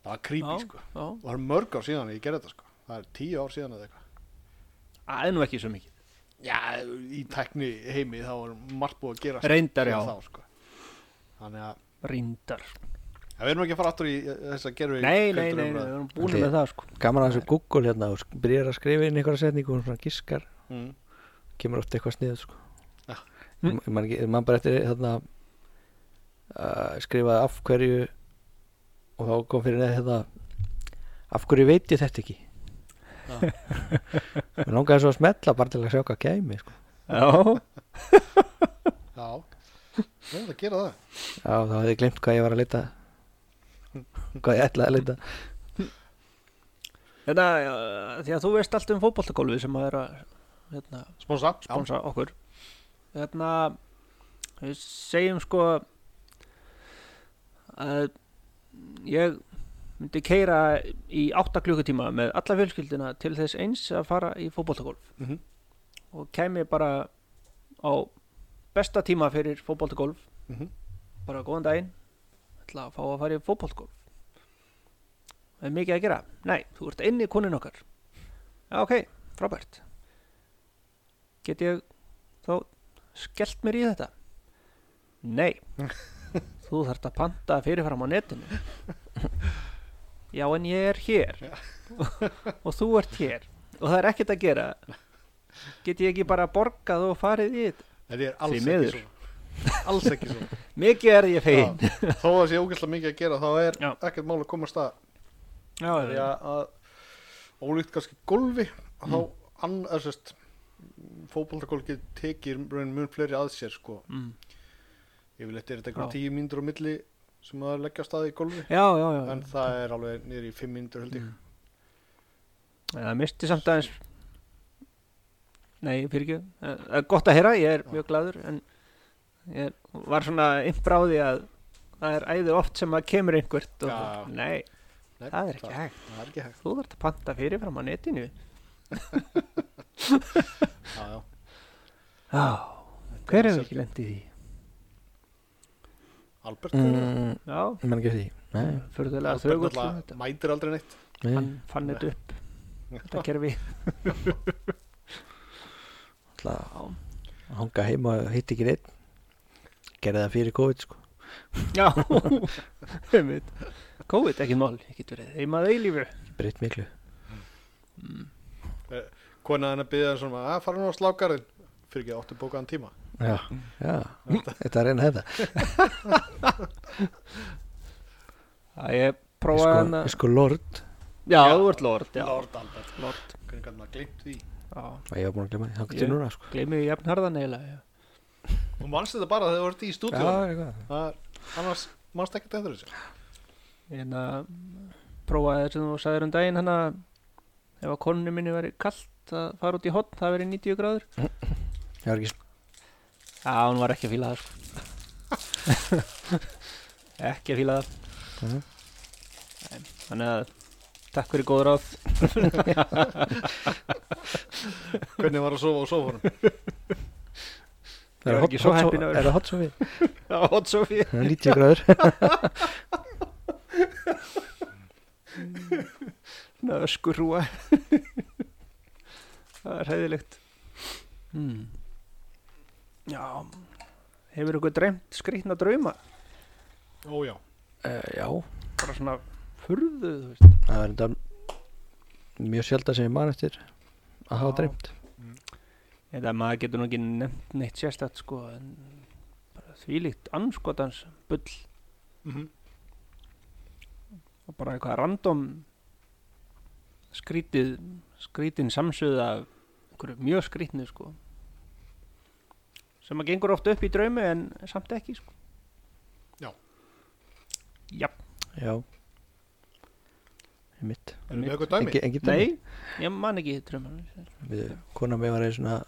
Speaker 2: það var creepy
Speaker 1: Já.
Speaker 2: sko
Speaker 1: Já,
Speaker 2: og það er mörg ár síðan að ég gerði þetta sko það er tíu ár síðan eða eitthvað
Speaker 1: Það er nú ekki svo mikið.
Speaker 2: já, í tekni heimi þá er margt búið að gera
Speaker 1: Reyndar, já.
Speaker 2: þá, sko. þannig að
Speaker 1: Rindar.
Speaker 2: ja, við erum ekki að fara aftur í eh, þessa gerfi
Speaker 1: Nei, nei, nei, nei, við erum búin
Speaker 3: Ok.
Speaker 1: með það, sko.
Speaker 3: Gaman að þessu Google hérna og sk- byrjar að skrifa inn einhverja setningu og svona giskar
Speaker 2: Mm.
Speaker 3: kemur oft eitthvað sniðu sko
Speaker 2: Já.
Speaker 1: Ah.
Speaker 3: Ég man- ég man, ekki- ég man bara eftir þarna uh, skrifaði af hverju og þá kom fyrir neð hérna af hverju veit ég þetta ekki
Speaker 1: Ah.
Speaker 3: Mér langaði svo að smetla bara til að sjá hvað kæmi sko.
Speaker 1: Já,
Speaker 2: Já, við erum að gera það
Speaker 3: Já, þá hefði ég glemt hvað ég var að lita Hvað ég ætlaði að lita
Speaker 1: þetta, uh, því að þú veist allt um fótboltakólfið sem að er að hérna,
Speaker 2: Sponsa
Speaker 1: sponsa okkur Hérna, við segjum sko að ég myndi keira í 8 klukkutíma með alla fjölskyldina til þess eins að fara í fótboltakólf
Speaker 2: Mhm.
Speaker 1: og kæmi bara á besta tíma fyrir fótboltakólf
Speaker 2: Mhm.
Speaker 1: bara góðan daginn ætla að fá að fara í fótboltakólf Það er mikið að gera Nei, þú ert inn í konin okkar Já, ok, frábært Get ég þá skellt mér í þetta? Nei Þú þarft að panta fyrirfram á netinu Já, en ég er hér og þú ert hér og það er ekkert að gera Get ég ekki bara borgað og farið í þetta?
Speaker 2: En ég er
Speaker 1: Því
Speaker 2: alls
Speaker 1: miður.
Speaker 2: ekki svona Alls ekki svona
Speaker 1: Mikið er ég fegin
Speaker 2: Já, Þó að sé ógæslega mikið að gera þá er
Speaker 1: Já.
Speaker 2: ekkert mál að komast að
Speaker 1: Já,
Speaker 2: því að að ólíkt kannski golfi þá
Speaker 1: Mm.
Speaker 2: ann, eða sérst fótboltakólki tekir raun mun fleiri að sér sko
Speaker 1: Mm.
Speaker 2: yfirleitt er þetta eitthvað
Speaker 1: Já.
Speaker 2: tíu mínútur á milli sem það er leggja staði í golfi
Speaker 1: já, já, já.
Speaker 2: en það er alveg niður í fimm mínútur held ég
Speaker 1: Mm. En það misti samt aðeins Nei, fyrir ekki Það er gott að heyra, ég er mjög gladur en ég var svona impráði að það er æði oft sem að kemur einhvert og
Speaker 2: Já.
Speaker 1: nei,
Speaker 2: Nei,
Speaker 1: það er ekki hægt
Speaker 2: það er ekki hægt
Speaker 1: þú þarft að panta fyrirfram á netinu
Speaker 2: já, já.
Speaker 1: Já, hver
Speaker 2: er
Speaker 1: hefur
Speaker 2: sjálfgefið.
Speaker 1: ekki lendið í því?
Speaker 2: Albert mm.
Speaker 3: mm,
Speaker 1: Já,
Speaker 3: Menn ekki því Nei,
Speaker 1: fyrðulega
Speaker 2: Albert
Speaker 1: þögull um
Speaker 2: náttúrulega
Speaker 1: þetta
Speaker 2: mætir aldrei neitt
Speaker 3: nei.
Speaker 1: Hann fann þetta upp, þetta kerfi
Speaker 3: ætla að hanga heima og hitt ekki neitt gerði það fyrir COVID sko
Speaker 1: Já, einmitt COVID ekki mál, ég get verið heimað eilífu
Speaker 3: breytt miklu
Speaker 2: konan hann að byggja hann svona að fara nú á slákarinn fyrir ekki áttu bókaðan tíma
Speaker 3: já, já, þetta er reyna þetta
Speaker 1: Það ég
Speaker 3: Ég
Speaker 1: prófaði hann
Speaker 3: sko,
Speaker 1: að
Speaker 3: ég sko lord
Speaker 1: Já, þú ert lord, já
Speaker 2: Lord Albert,
Speaker 1: Lord,
Speaker 2: hvernig gæti maður gleymt því
Speaker 1: já
Speaker 3: og ég var búin að glemma því, hann getur
Speaker 1: Ég-
Speaker 3: núna sko
Speaker 1: Gleimið jafn harðan eiginlega já.
Speaker 2: og mannst þetta bara þegar þú ert í
Speaker 3: já,
Speaker 2: stúdíu
Speaker 3: eitthvað
Speaker 2: annars mannst ekkert eftir þessu
Speaker 1: En að prófaði þetta sem þú sagðir um daginn hann að ef að konunni minni væri kalt að fara út í hotn, það veri 90 gráður
Speaker 3: ég var ekki
Speaker 1: Já, hún var ekki að fíla það sko. Ekki að fíla það
Speaker 3: Mhm.
Speaker 1: Nei, Þannig að takk fyrir góð ráð
Speaker 2: hvernig var að sofa á sofunum
Speaker 1: Ég var ekki svo heppinn að vera-
Speaker 3: er það hot svo við
Speaker 1: Já, hot Sofía
Speaker 3: 90 gráður
Speaker 1: Öskurúa Það er hæðilegt mm. Já Hefur ykkur dreymt skrýtna drauma
Speaker 2: Ó já,
Speaker 3: uh, já,
Speaker 1: bara svona furðu þú veist
Speaker 3: það er þetta mjög sjálf sem ég man eftir að hafa
Speaker 1: Já.
Speaker 3: dreymt
Speaker 1: Þetta maður getur nú ekki nefnt neitt sérstætt sko en bara þvílíkt anskotans bull Mhm. og bara eitthvað random skrítið skrítin samsöða af einhverju mjög skrítnu sko sem að gengur oft upp í draumi en samt ekki sko
Speaker 2: Já.
Speaker 1: Já,
Speaker 3: já ég mitt
Speaker 2: erum við
Speaker 1: Einmitt.
Speaker 2: eitthvað dæmi?
Speaker 3: Engi- engin dæmi.
Speaker 1: nei, ég man ekki drauman
Speaker 3: við, kona mér var einu svona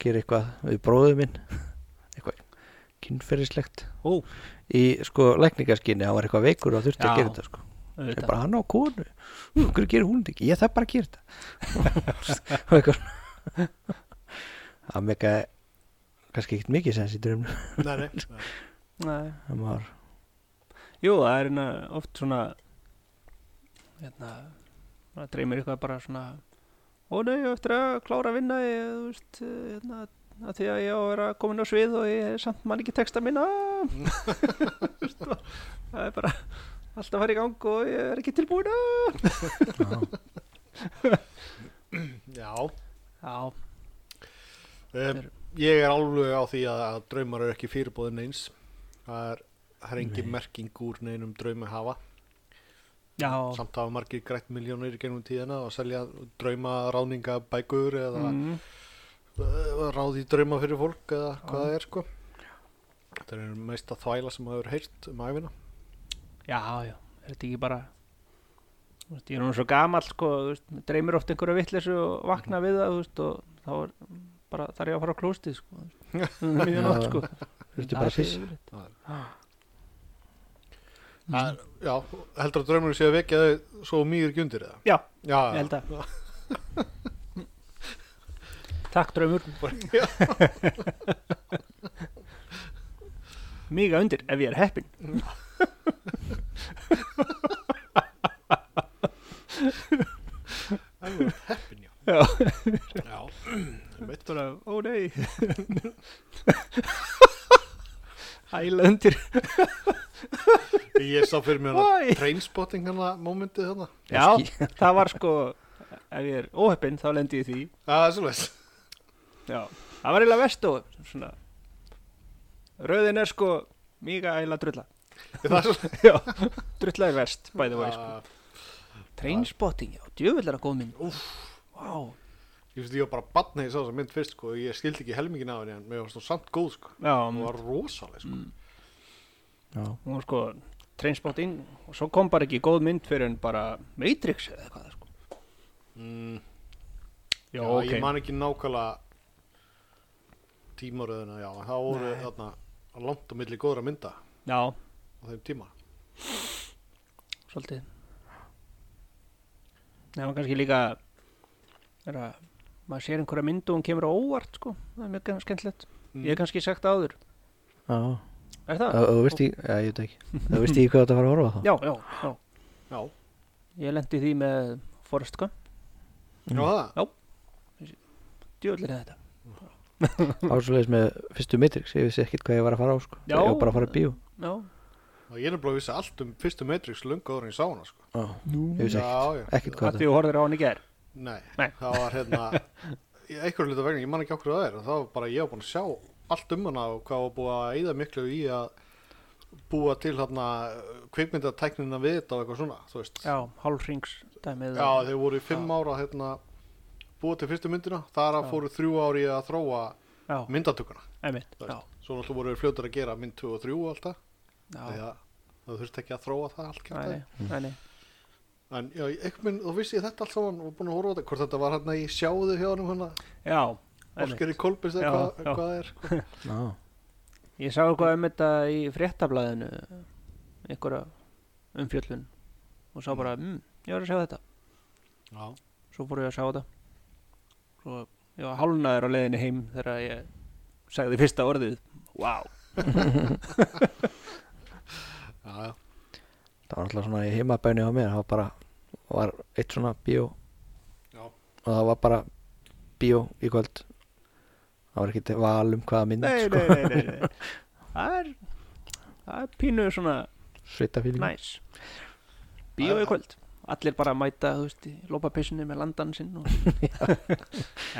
Speaker 3: gera eitthvað við bróðu minn eitthvað kynferðislegt
Speaker 1: Ó.
Speaker 3: í sko lækningaskinni, hann var eitthvað veikur og þurfti
Speaker 1: Já,
Speaker 3: að gera þetta sko ég bara hann á konu, hverju gerir hún þetta ekki ég þarf bara að gera þetta og eitthvað svona það mega kannski ekkert mikið sens í drömmu
Speaker 2: Nei, nei, nei.
Speaker 1: Nei
Speaker 3: það var
Speaker 1: Jú, það er hérna oft svona hérna það dreymir eitthvað bara svona ó nei, ég á eftir að klára að vinna ég, þú veist, hérna að því að ég á að vera komin á svið og ég er samt mann ekki texta minna Þú veist, og það er bara allt að fara í gang og ég er ekki tilbúin að
Speaker 3: já,
Speaker 2: Já,
Speaker 1: Já,
Speaker 2: um, ég er alveg á því að, að draumar eru ekki fyrirbóðin eins það er, það er engin merking úr neinum draumi hafa
Speaker 1: Já,
Speaker 2: samt hafa margir grætt miljónir í gegnum tíðina og selja drauma ráninga bækur eða
Speaker 1: mm,
Speaker 2: mm. ráði drauma fyrir fólk eða hvað það er sko þetta er mesta þvæla sem maður hefur heyrt um æfina
Speaker 1: já, já, er þetta ekki bara þú veist, ég er nú svo gamall sko, þú veist, mig dreymir oft einhverja vitleysu og vakna við það, þú veist, og þá er bara, þarf ég að fara á klóstið sko, þú veist, um miðja nótt, sko.
Speaker 3: Þurftu bara að
Speaker 1: Það er
Speaker 3: pissa.
Speaker 1: yfirleitt.
Speaker 2: Það er-
Speaker 1: Já. Mm,
Speaker 2: Það er- já, heldur að draumur séu að vekja þau svo mýgur ekki undir eða
Speaker 1: Já,
Speaker 2: já,
Speaker 1: ég held að Takk draumur Míga undir ef ég er heppin
Speaker 2: það er heppin já
Speaker 1: Já.
Speaker 2: já, einmitt.
Speaker 1: bara, ó nei Æla undir
Speaker 2: ég sá fyrir mér hana
Speaker 1: Oj.
Speaker 2: trainspotting hérna, hana momentið hana
Speaker 1: Já,
Speaker 3: Ég skil.
Speaker 1: það var sko ef ég er óheppin þá lendi ég í því
Speaker 2: það er svolítið
Speaker 1: Já, það var eiginlega vest og svona Rauðin er sko Míga æla drulla
Speaker 2: það er svolítið
Speaker 1: Já, drulla er verst by the way sko.
Speaker 2: Ah,
Speaker 1: Trainspotting, já, djöfull er að góð mynd Úff, vá
Speaker 2: ég finnst ég var bara barn þegar ég sá þessa mynd fyrst sko og ég skildi ekki helmingin af henni en mér var svona samt góð sko
Speaker 1: Já,
Speaker 2: hún var rosaleg sko
Speaker 3: Já,
Speaker 1: hún var sko Trainspotting og svo kom bara ekki góð mynd fyrir en bara Matrix eða eitthvað sko.
Speaker 2: mm.
Speaker 1: Já,
Speaker 2: Já,
Speaker 1: ok,
Speaker 2: ég man ekki nákvæmlega tímaröðina, já, en það voru
Speaker 1: Nei.
Speaker 2: þarna langt á milli góðra mynda á
Speaker 1: já,
Speaker 2: þeim tíma.
Speaker 1: svolítið Nei, var kannski líka er að maður sér einhverja mynd og hún kemur á óvart sko, það er mjög skemmtilegt
Speaker 2: Mm.
Speaker 1: Ég hef kannski sagt það áður,
Speaker 3: já
Speaker 1: er það?
Speaker 3: Þú þú veist í, já, ég veit ekki Þú veist í hvað þetta var að horfa á þá
Speaker 1: já, já, já,
Speaker 2: Já,
Speaker 1: Mm. ég lendi því með Forrest Gump,
Speaker 2: já það,
Speaker 1: djöðlir þetta
Speaker 3: Ásvoleiðis með fyrstu Matrix Ég vissi ekkit hvað ég var að fara á sko
Speaker 1: Já.
Speaker 3: Ég var bara að fara í bíó
Speaker 1: Já,
Speaker 2: og ég er nefnilega að vissi allt um fyrstu Matrix löngu áður en ég sá hana, sko.
Speaker 3: Nú Ég vissi ekkit,
Speaker 2: Já, já.
Speaker 3: ekkit
Speaker 1: að
Speaker 3: hvað
Speaker 1: því
Speaker 3: það
Speaker 1: þú horfir á hann í gær
Speaker 2: Nei,
Speaker 1: Nei.
Speaker 2: það var hérna, í einhverju hluta vegna, ég man ekki okkur það er, en það var bara, ég var búin að sjá allt um hana og hvað var búið að eyða miklu í að búa til hérna kvikmyndatæknina við þetta og eitthvað svona, þú veist.
Speaker 1: Já, hálfrings dæmið
Speaker 2: Já, þeir voru í fimm ára hérna búið til fyrstu myndina, þar að
Speaker 1: Já.
Speaker 2: fóru þrjú ári að þróa
Speaker 1: já,
Speaker 2: myndatökuna.
Speaker 1: einmitt,
Speaker 2: Þú
Speaker 1: já,
Speaker 2: veist. Svo náttúrulega voru við fljótar að gera mynd 2 og 3 og allt það,
Speaker 1: já,
Speaker 2: því að það þurfti ekki að þróa það allt
Speaker 1: já,
Speaker 2: kjartaði.
Speaker 1: já, já
Speaker 2: En já, einhvern veginn, þá vissi ég þetta allt saman og búin að horfa á þetta, hvort þetta var hérna í sjáðu hjá hann hérna,
Speaker 1: Já, einmitt.
Speaker 2: Óskari Kolbis
Speaker 1: Já,
Speaker 2: eða hvað,
Speaker 1: já.
Speaker 2: hvað það er. sko.
Speaker 3: Já,
Speaker 1: ég sá eitthvað um þetta í fréttablaðinu einhverja umfjöllun og sá bara, mm, ég var að sjá þetta
Speaker 2: Já,
Speaker 1: svo fór ég að sjá þetta svo ég var hálnaður á leiðinni heim þegar ég sagði fyrsta orðið wow,
Speaker 2: já, já.
Speaker 3: það var alltaf svona í heimabæni á mér Það var bara Var eitt svona bíó
Speaker 2: Já.
Speaker 3: Og það var bara bíó í kvöld Það var ekkit val um hvaða mynd
Speaker 1: nei,
Speaker 3: sko.
Speaker 1: nei, nei, nei, nei. það er það er pínu svona
Speaker 3: Sveitafíling
Speaker 1: næs bíó
Speaker 2: Það er-
Speaker 1: í kvöld allir bara að mæta, þú veist, í lópapissunni með landan sinn og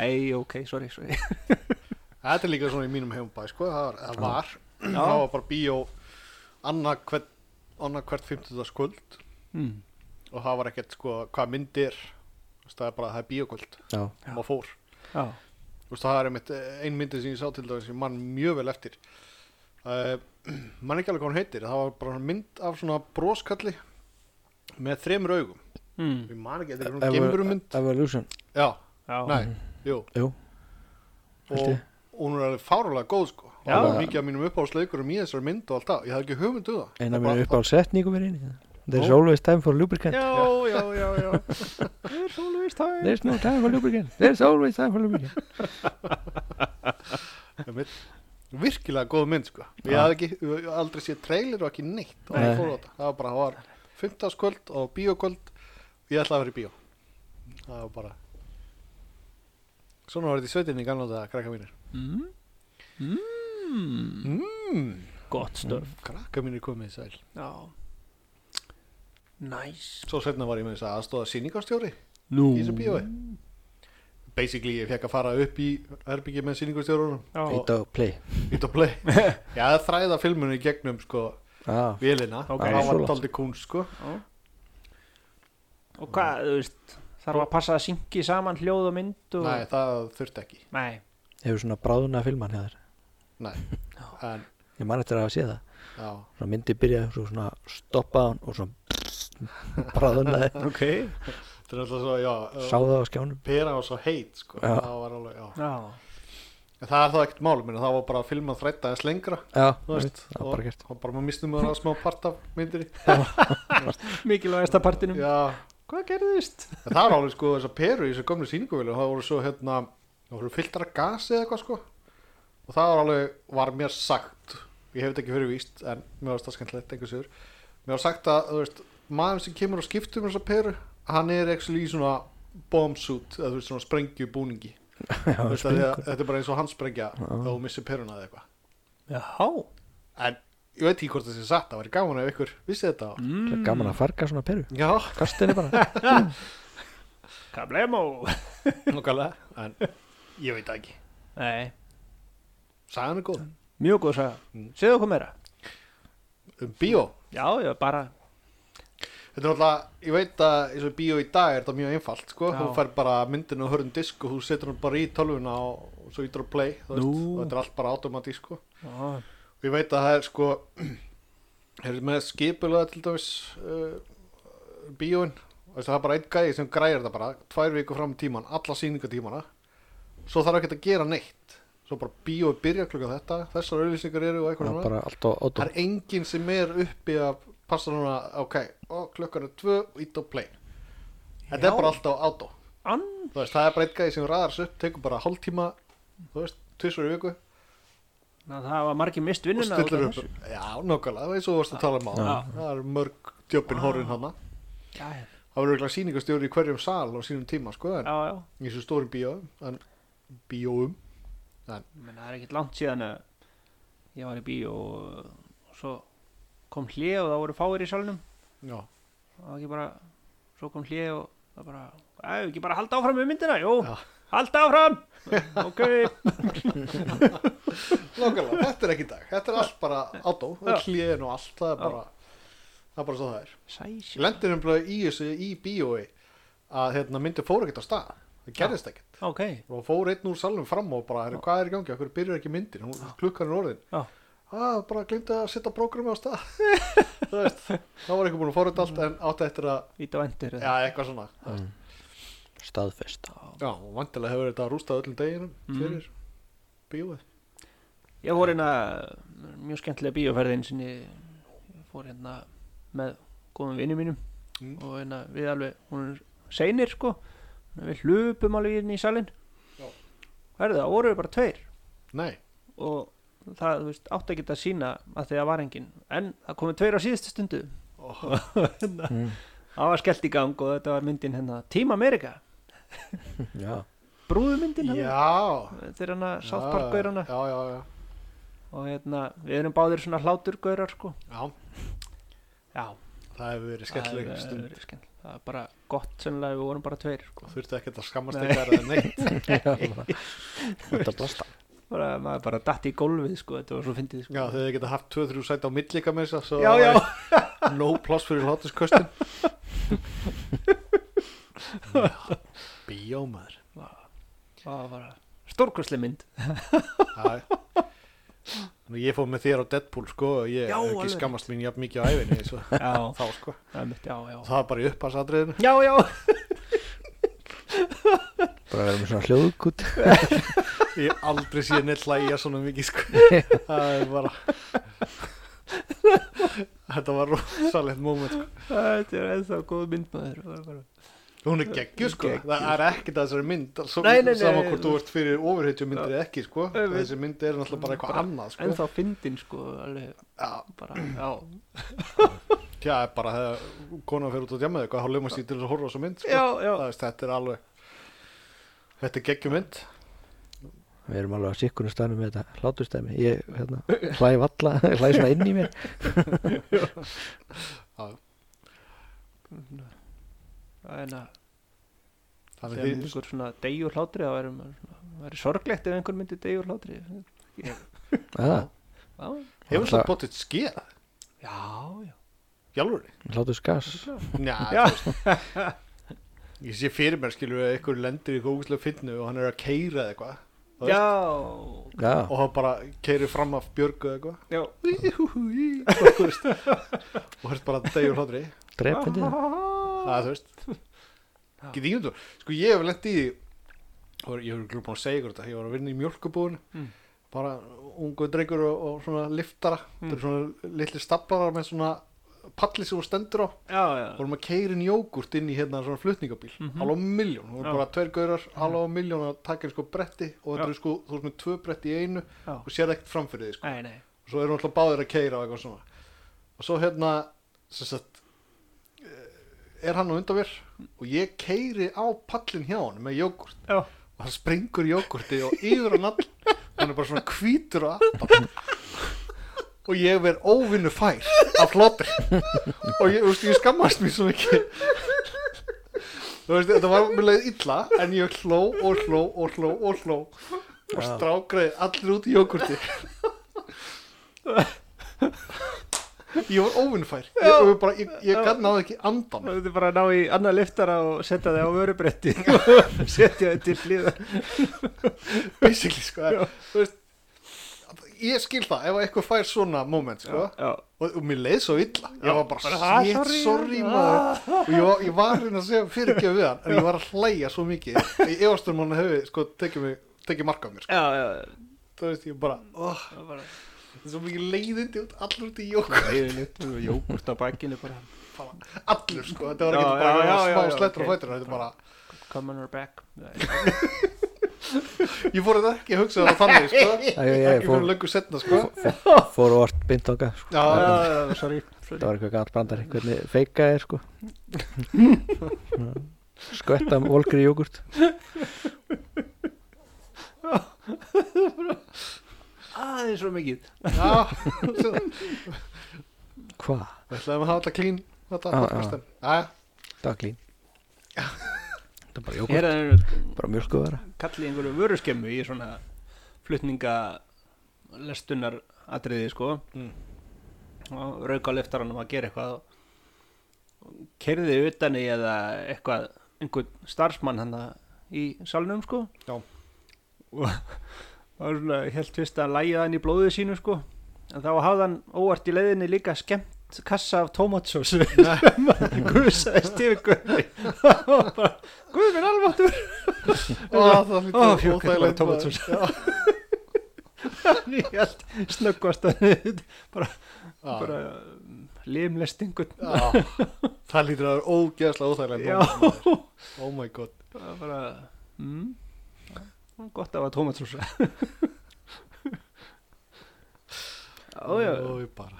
Speaker 1: ei, ok, sorry, sorry
Speaker 2: Þetta er líka svona í mínum heimbæ, sko, það var, það var,
Speaker 1: Já.
Speaker 2: það var bara bíó annað hvert, annað hvert 50.
Speaker 1: mm.
Speaker 2: og það var ekkert sko hvað myndir þú veist, það er bara það er bíokvöld
Speaker 3: Já,
Speaker 1: Já.
Speaker 2: og maður fór
Speaker 1: já,
Speaker 2: Þú veist, það er einmitt eh, ein myndi sem ég sá til dæmis sem mann mjög vel eftir uh, mann ekki alveg hvað hún heitir það var bara mynd af svona broskalli með þremur augum
Speaker 1: mm.
Speaker 2: ég man ekki, þetta er svona
Speaker 3: Evo-
Speaker 2: gemurumynd
Speaker 3: Evolution
Speaker 2: já,
Speaker 1: já.
Speaker 2: nei, jú
Speaker 3: Jú.
Speaker 2: og
Speaker 3: Held ég.
Speaker 2: og hún er alveg fárulega góð sko og
Speaker 1: Já.
Speaker 2: það var mikið af mínum uppáhalsleikurum í þessari mynd og allt það, ég hafði ekki hugmynd um það
Speaker 3: Einn
Speaker 2: Það
Speaker 3: af
Speaker 2: er bara-
Speaker 3: mér uppáhald setningu verið inn There's
Speaker 2: Ó.
Speaker 3: always time for lubricant
Speaker 1: já, já, já, já Það er svolítið það
Speaker 3: There's no time for lubricant There's always time for lubricant
Speaker 2: Einmitt. virkilega góð mynd sko ég hafði ekki, ég hafði aldrei séð trailer og ekki neitt og
Speaker 3: Nei.
Speaker 2: ég fór á þetta, það var bara það var fimmtagskvöld og bíokvöld ég ætlaði að vera í bíó það var bara svona var þetta í sveitinni í gamla þetta krakka mínir
Speaker 1: mm. Mm.
Speaker 2: mm,
Speaker 1: Gott stöf
Speaker 2: krakka mínir komið sæl
Speaker 1: Hmm. Já Næs
Speaker 2: svo setna var ég með þess að aðstóða sýningastjóri
Speaker 1: Nú
Speaker 2: í þessu bíói basically ég fekk að fara upp í herbyggi með sýningastjórunum
Speaker 1: Já,
Speaker 3: Eitt og play
Speaker 2: ít og play ég hafði þræða filminu í gegnum sko
Speaker 3: Já,
Speaker 2: vélina,
Speaker 1: Ok.
Speaker 2: það var
Speaker 3: Svoleiðis.
Speaker 2: daldi kún sko
Speaker 1: já. og hvað, þú veist þarf að passa að syngi saman hljóð og mynd og...
Speaker 2: Nei, það þurfti ekki
Speaker 1: Nei.
Speaker 3: hefur svona bráðuna filman hjá þér
Speaker 2: Nei, en
Speaker 3: ég man eftir að hafa séð það
Speaker 2: já,
Speaker 3: svona myndi byrja svo svona stoppa hann og svona bráðuna þig
Speaker 1: ok
Speaker 2: þetta er alltaf svo, já uh,
Speaker 3: sá það á skjánum
Speaker 2: Pera var svo heit, sko
Speaker 3: Já.
Speaker 2: Það var alveg, já
Speaker 1: já,
Speaker 2: En það er þá ekkert mál, minna, það var bara að filma þrætta eins lengra
Speaker 3: já,
Speaker 2: Þú veist,
Speaker 3: það var bara gert
Speaker 2: og bara maður mistum að smá part af myndir
Speaker 1: mikilvægasta partinum
Speaker 2: Já,
Speaker 1: hvað gerðist?
Speaker 2: En það er alveg sko þess að peru í þessu gömlu sýninguvilu það voru svo hérna, það voru filtra gasi eða eitthvað sko og það var alveg, var mér sagt ég hef þetta ekki fyrir víst en mér varst það skemmtilegt einhvers yfir mér var sagt að, þú veist, maður sem kemur og skiptum þessa peru, hann er actually í svona bombsuit, eða þú veist svona sprengju búningi,
Speaker 3: já,
Speaker 2: þú veist að
Speaker 3: springur.
Speaker 2: þetta er bara eins og hann sprengja og missir peruna eða eitthvað
Speaker 1: já,
Speaker 2: en ég veit ekki hvort það sé satt, það væri gaman ef ykkur vissi þetta
Speaker 3: Það er gaman að farga svona peru
Speaker 2: Já,
Speaker 3: kastinni bara
Speaker 1: kablemo
Speaker 2: nokkalega en ég veit það ekki,
Speaker 1: Nei.
Speaker 2: sagan er góð
Speaker 1: mjög góð saga,
Speaker 2: Mm.
Speaker 1: segðu okkur meira
Speaker 2: um bíó
Speaker 1: já, já, bara
Speaker 2: Þetta er náttúrulega, ég veit að eins og í bíó í dag er þetta mjög einfalt, sko,
Speaker 1: Já.
Speaker 2: þú fær bara myndin og hörðum disk og þú setur hann bara í tölvuna og og svo ytur að play, þú veist,
Speaker 1: Nú.
Speaker 2: og þetta er allt bara automatísk, sko.
Speaker 1: já,
Speaker 2: Og ég veit að það er, sko, er með skipulega til dæmis uh, bíóin, Þú veist, það er bara einn gæði sem græðir þetta bara, tvær viku fram í tíman, alla sýningatímana, svo þarf ekki að gera neitt, svo bara bíói byrja klukka þetta, þessar auðlýsingar eru og eitthvað
Speaker 3: Já,
Speaker 2: svona.
Speaker 3: bara allt á
Speaker 2: Það
Speaker 3: ódum
Speaker 2: er enginn sem er uppi að passa núna, ok, og klukkan er tvö, ít og play. Þetta
Speaker 1: Já.
Speaker 2: er bara alltaf átó.
Speaker 1: ann
Speaker 2: Þú veist, það er bara einn gæði sem ræðar sér upp, tekur bara hálftíma, þú veist, tvisvar í viku
Speaker 1: Ná, það var margir mist
Speaker 2: og
Speaker 1: vinnuna
Speaker 2: stillir upp. Já, nákvæmlega, það er svo vorst að tala um á.
Speaker 1: Já.
Speaker 2: Það er mörg djöppin horfin hana.
Speaker 1: já, já,
Speaker 2: Það verður eitthvað sýningastjóri í hverjum sal á sínum tíma, sko, en
Speaker 1: já, já.
Speaker 2: í þessu stórum bíóum, en bíóum.
Speaker 1: Men það er ekkert langt síðan að ég var í bíó og, og svo kom hlið og það voru fáir í salnum
Speaker 2: Já,
Speaker 1: og það var ekki bara, svo kom hlið og það bara, að ekki bara halda áfram með myndina, jú,
Speaker 2: Já.
Speaker 1: halda áfram ok,
Speaker 2: nákvæmlega, þetta er ekki í dag. Þetta er allt bara átó,
Speaker 1: Já.
Speaker 2: hlíðin og allt, það
Speaker 1: Já.
Speaker 2: er bara, það er bara svo það er. Ég
Speaker 1: sæsjó
Speaker 2: lendi nefnilega í þessu í bíói að hérna, myndi fór ekkert á stað það gerðist ekkert
Speaker 1: ok,
Speaker 2: og fór einn úr salnum fram og bara "Heyrðu, hvað er í gangi, okkur byrjar ekki myndin Hún- klukkan er orðin
Speaker 1: Já.
Speaker 2: ah, bara glemdi að setja prógrami á stað Þú veist, það var eitthvað búin að fóra þetta allt en átti eftir að,
Speaker 1: ít á endur
Speaker 2: já eitthvað svona Þú veist.
Speaker 3: staðfest
Speaker 2: já, og vantilega hefur þetta rústað öllum deginum
Speaker 1: Mhm.
Speaker 2: fyrir bíóið
Speaker 1: Ég fór hérna mjög skemmtilega bíóferðin sinni ég fór hérna með góðum vinnum mínum
Speaker 2: Mm.
Speaker 1: og hérna við alveg, hún er seinir sko Þannig að við hlupum alveg hérna í salin
Speaker 2: Já.
Speaker 1: Herðu það, voru við bara tveir
Speaker 2: nei,
Speaker 1: og það, þú veist, átti ekki að sína að því að var engin en það komið tveir á síðustu stundu
Speaker 2: oh,
Speaker 1: hérna, það var skellt í gang og þetta var myndin hérna Team America,
Speaker 3: já,
Speaker 1: brúðumyndin hérna
Speaker 2: já
Speaker 1: þegar hana South Park gaur hana
Speaker 2: já, já, já,
Speaker 1: og hérna, við erum báðir svona hláturgaurar sko
Speaker 2: já,
Speaker 1: Já,
Speaker 2: það
Speaker 1: Það hefur
Speaker 2: hefur verið skemmtileg
Speaker 1: verið
Speaker 2: stund
Speaker 1: skemmtilegt. það er bara gott sennilega við vorum bara tveir sko.
Speaker 2: þurfti ekkert að skammast eitthvað eða neitt
Speaker 3: já bara- þetta blasta
Speaker 1: bara, maður bara datt í gólfið sko, þetta var svo fyndið sko.
Speaker 2: Já, þau hefðu getað haft 2-3 sæti á millika með þess að
Speaker 1: Já, já.
Speaker 2: No pláss fyrir hlátusköstin Bíómaður
Speaker 1: það var bara stórkursli mynd
Speaker 2: Já Nú, Ég fór með þér á Deadpool sko og Ég
Speaker 1: Já,
Speaker 2: hef ekki
Speaker 1: alveg.
Speaker 2: skammast mín jafn mikið á æfinni eins og
Speaker 1: já,
Speaker 2: þá sko
Speaker 1: það er mitt, já, já
Speaker 2: Það var bara í upphansatriðinu
Speaker 1: já, já,
Speaker 3: bara verðum svona hljóðkút
Speaker 2: Ég hef aldrei síðan neitt hlæja svona mikið sko Það er bara Þetta var rosalegt moment sko
Speaker 1: þetta er ennþá góð mynd maður Það var bara...
Speaker 2: Hún er geggjur sko,
Speaker 1: Geggjuð.
Speaker 2: það er ekkert að þessari mynd svo,
Speaker 1: Nei, nei, nei,
Speaker 2: saman
Speaker 1: nei,
Speaker 2: hvort þú
Speaker 1: þú-
Speaker 2: ert fyrir ofurheitju myndir eða ekki sko
Speaker 1: Auðvitað.
Speaker 2: þessi mynd er náttúrulega bara eitthvað
Speaker 1: Bara
Speaker 2: annað sko
Speaker 1: ennþá fyndin sko, alveg,
Speaker 2: Já,
Speaker 1: bara, já
Speaker 2: já, bara þegar konan fyrir út á djamaði eitthvað, þá lögumast ég til þess að horfa á þessu mynd sko.
Speaker 1: já, já,
Speaker 2: Það veist, þetta er alveg þetta er geggjum mynd
Speaker 3: við erum alveg að sikkunum staðnum með þetta hláturstæmi ég hérna, hlæ valla, hlæ svona inn í mér
Speaker 1: það er að
Speaker 2: þannig
Speaker 1: þegar
Speaker 2: því,
Speaker 1: einhver svona degjur hlátri það væri, maður svona- það væri sorglegt ef einhver myndi degjur hlátri
Speaker 3: að,
Speaker 1: já,
Speaker 2: hefur
Speaker 3: Það-
Speaker 2: þetta bóttið skeð
Speaker 1: já, já
Speaker 2: Jálfurni?
Speaker 3: hlátursgas
Speaker 2: Já,
Speaker 1: Já.
Speaker 2: þú veist, Ég sé fyrir mér skilur að einhver lendir í kókuslega finnu og hann er að keira eða eitthvað þú veist,
Speaker 1: Já,
Speaker 3: Já,
Speaker 2: og hann bara keirir fram af björgu eða eitthvað
Speaker 1: já
Speaker 2: Íhúhúí, og þú veist og hörst bara degjur hlátri
Speaker 3: drepindi
Speaker 2: það þú veist get ég umdur sko ég hef lent í því og ég hef glúið búin að segja ykkur þetta ég var að vinna í mjölkubúðinu
Speaker 1: Mm.
Speaker 2: bara ungu drengur og, og svona liftara
Speaker 1: Mm.
Speaker 2: það eru svona litli staplara með svona palli sem hún stendur á
Speaker 1: Já, já
Speaker 2: vorum að keira inn jógurt inn í hérna svona flutningabíl mm
Speaker 1: Mhm.
Speaker 2: -hmm. alveg miljón, það voru
Speaker 1: Já. Mm.
Speaker 2: bara tveir gaurar alveg miljón að taka einn sko bretti og þetta
Speaker 1: Já.
Speaker 2: eru sko, þú veist með tvö bretti í einu
Speaker 1: Já.
Speaker 2: og sér ekkert framfyrir því sko
Speaker 1: Nei, nei
Speaker 2: og svo eru alltaf báðir að keira og eitthvað svona og svo hérna sem sagt eh, er hann á undan mér og ég keiri á pallin hjá hann með jógurt
Speaker 1: Já,
Speaker 2: og hann springur jógurti og yfir hann all hann er bara svona hvítur og appan og ég verð óvinnu fær af hlotri og ég, þú veist, ég skammast mér svo mikið þú veist, þetta var mjög leið illa en ég hló og hló og hló og hló og strákraði allir út í jógurti ég var óvinnu fær ég, ég, bara- ég, ég gæti náði ekki andan
Speaker 1: þú þurfti bara að ná í annað liftara og setja þig á vörubretti Setja þig til hlýðar
Speaker 2: basically sko þú veist, ég skil það ef eitthvað fær svona moment sko
Speaker 1: Já,
Speaker 2: og, og mér leið svo illa ég var bara,
Speaker 1: bara,
Speaker 2: shit,
Speaker 1: "Ah,
Speaker 2: sorry,
Speaker 1: sorry, ah."
Speaker 2: maður og ég var, ég var að reyna að segja fyrirgjöf við hann en ég var að hlæja svo mikið ég efast um hann hefði sko tekið mig tekið marka á mér sko.
Speaker 1: já, já
Speaker 2: þú veist ég bara, oh,
Speaker 1: Það var bara
Speaker 2: svo mikið leiðindi út allur út í jók
Speaker 1: Yfirleitt, jógurt á bakkinu bara
Speaker 2: allur sko, þetta var
Speaker 1: Já,
Speaker 2: ekki bara
Speaker 1: já, já,
Speaker 2: eitthvað
Speaker 1: já, já,
Speaker 2: smá slettur
Speaker 1: ok.
Speaker 2: okay. fætur þetta er bara,
Speaker 1: Come on her back Nei.
Speaker 2: ég fór þetta ekki að hugsa það þannig sko
Speaker 3: Já, já, já, ég
Speaker 2: ekki
Speaker 3: fór-
Speaker 2: fyrir löngu setna sko
Speaker 3: Fór og orð beint okkar sko.
Speaker 2: já, já, já,
Speaker 1: Já, sorry
Speaker 3: Það var eitthvað galt brandar Hvernig feika er sko Skvetta um volgri jógurt
Speaker 1: Aðeins svo mikið
Speaker 2: já, já.
Speaker 3: Hva?
Speaker 2: Við ætlaðum að hafa þetta klín Þetta
Speaker 1: Ah,
Speaker 3: Já, já.
Speaker 2: podcastin Jæja,
Speaker 3: Daglín Það er bara
Speaker 1: Ég er
Speaker 3: jógurt
Speaker 1: að
Speaker 3: Bara mjölku vera
Speaker 1: kallið einhverju vöruskemmu í svona flutninga lestunar atriði sko
Speaker 2: Mm.
Speaker 1: og rauka á liftaranum að gera eitthvað og kerði utan í eða eitthvað einhvern starfsmann hann í salnum sko
Speaker 2: Já.
Speaker 1: og það var svona helt fyrst að læja hann í blóðið sínu sko en þá hafði hann óvart í leiðinni líka skemmt kassa af tómatsósu sem hann gusaðist yfir guði það var bara guð minn alváttur
Speaker 2: Ó, það er
Speaker 1: Ó,
Speaker 2: lítið
Speaker 1: fjók, þetta er bara
Speaker 2: óþægilegt
Speaker 1: tómatsós Ég held snöggvast að niður, bara mm,
Speaker 2: Já,
Speaker 1: limlestingun
Speaker 2: já. Það lítur að það er ógeðslega
Speaker 1: Já.
Speaker 2: óþægilegt Oh my god
Speaker 1: Það var bara mm, það var gott að hafa tómatsós Ójá
Speaker 2: Ó, ég bara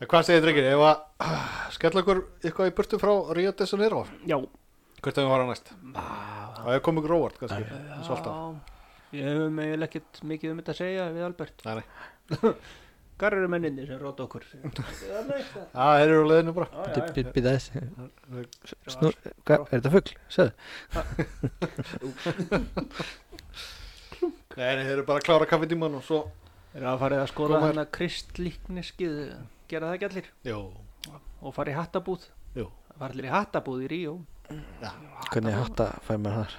Speaker 2: En hvað segir drengir, ef að ah, skella okkur eitthvað í burtu frá Rio de Janeiro
Speaker 1: Já
Speaker 2: Hvert að við fara næst
Speaker 1: Ah,
Speaker 2: Og ef komið ykkur óvart, kannski eins og alltaf.
Speaker 1: Ég hefum eiginlega ekkert mikið um þetta að segja við Albert
Speaker 2: Nei, nei.
Speaker 1: Hvar eru menninni sem róta okkur? Það er næsta
Speaker 2: Já, þeir eru á leiðinu bara
Speaker 1: Já, já,
Speaker 3: Býta þess
Speaker 2: já.
Speaker 3: Snú, hva, Er þetta fugl? Sæðu
Speaker 2: Nei, nei, þeir eru bara að klára kaffitíman og svo
Speaker 1: já. Er að farið að skoða
Speaker 2: Koma-
Speaker 1: hana kristlíkniskið gera það ekki allir
Speaker 2: Jó,
Speaker 1: og fara í hattabúð
Speaker 2: Jú.
Speaker 1: það var allir í hattabúð í Ríó
Speaker 3: Hvernig hatta fær maður þar?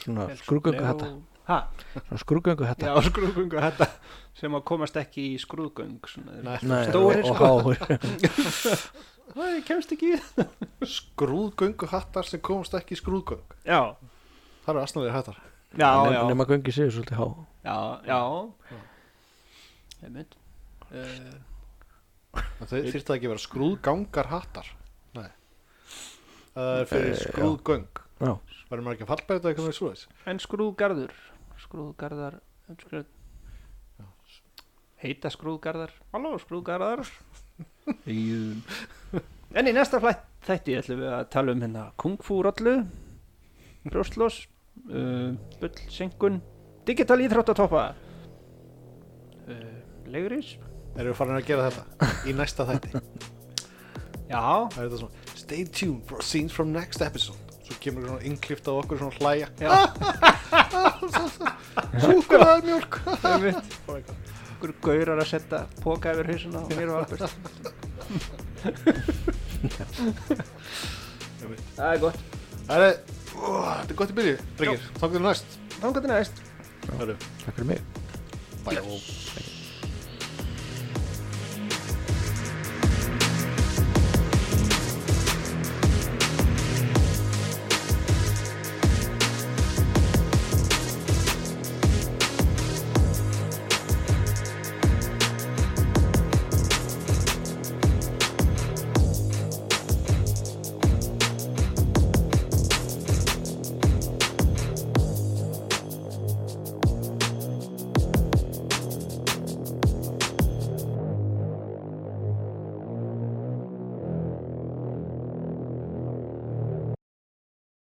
Speaker 3: Svona skrúgöngu hatta
Speaker 1: ha,
Speaker 3: Svona skrúgöngu hatta
Speaker 1: já, skrúðgöngu hatta sem að komast ekki í skrúðgöng svona, þeir-
Speaker 2: Nei.
Speaker 3: Nei,
Speaker 1: Stórir,
Speaker 3: og, og
Speaker 1: sko.
Speaker 3: háur
Speaker 1: Æ, ég kemst ekki í það.
Speaker 2: skrúðgöngu hattar sem komast ekki í skrúðgöng
Speaker 1: já,
Speaker 2: Það eru asnalegir hattar
Speaker 1: já, já,
Speaker 3: Nefna göngi séu svolítið há
Speaker 1: já, já. einmitt uh,
Speaker 2: En Þeir þyrfti það ekki að vera skrúðgangar hattar Nei Það er fyrir skrúðgöng
Speaker 3: Já,
Speaker 2: Verður maður ekki að fallberða eitthvað með svoleiðis
Speaker 1: en skrúðgarður skrúðgarðar skrúð, heita skrúðgarðar halló skrúðgarðar Íðum. en í næsta flætt þætti ætlum við að tala um hérna kungfúrollu brjóstlós uh, bullsengun digital íþróttatoppa uh, leguris
Speaker 2: Erum við farin að gera þetta í næsta þætti Það
Speaker 1: já,
Speaker 2: er þetta svona Stay tuned for scenes from next episode Svo kemur svona innklift á okkur svona hlæja
Speaker 1: Já.
Speaker 2: Súkulaðar mjólk
Speaker 1: það er mitt okkur gaurar að setja póka yfir hausuna og mér og Albert
Speaker 2: Við mitt
Speaker 1: það er gott
Speaker 2: Það er, ó, þetta er gott í byrju, drengir. Þá getur næst.
Speaker 1: Þannig að þetta næst
Speaker 2: Hörru.
Speaker 3: Takk fyrir mig
Speaker 2: Bæ.
Speaker 3: Bye.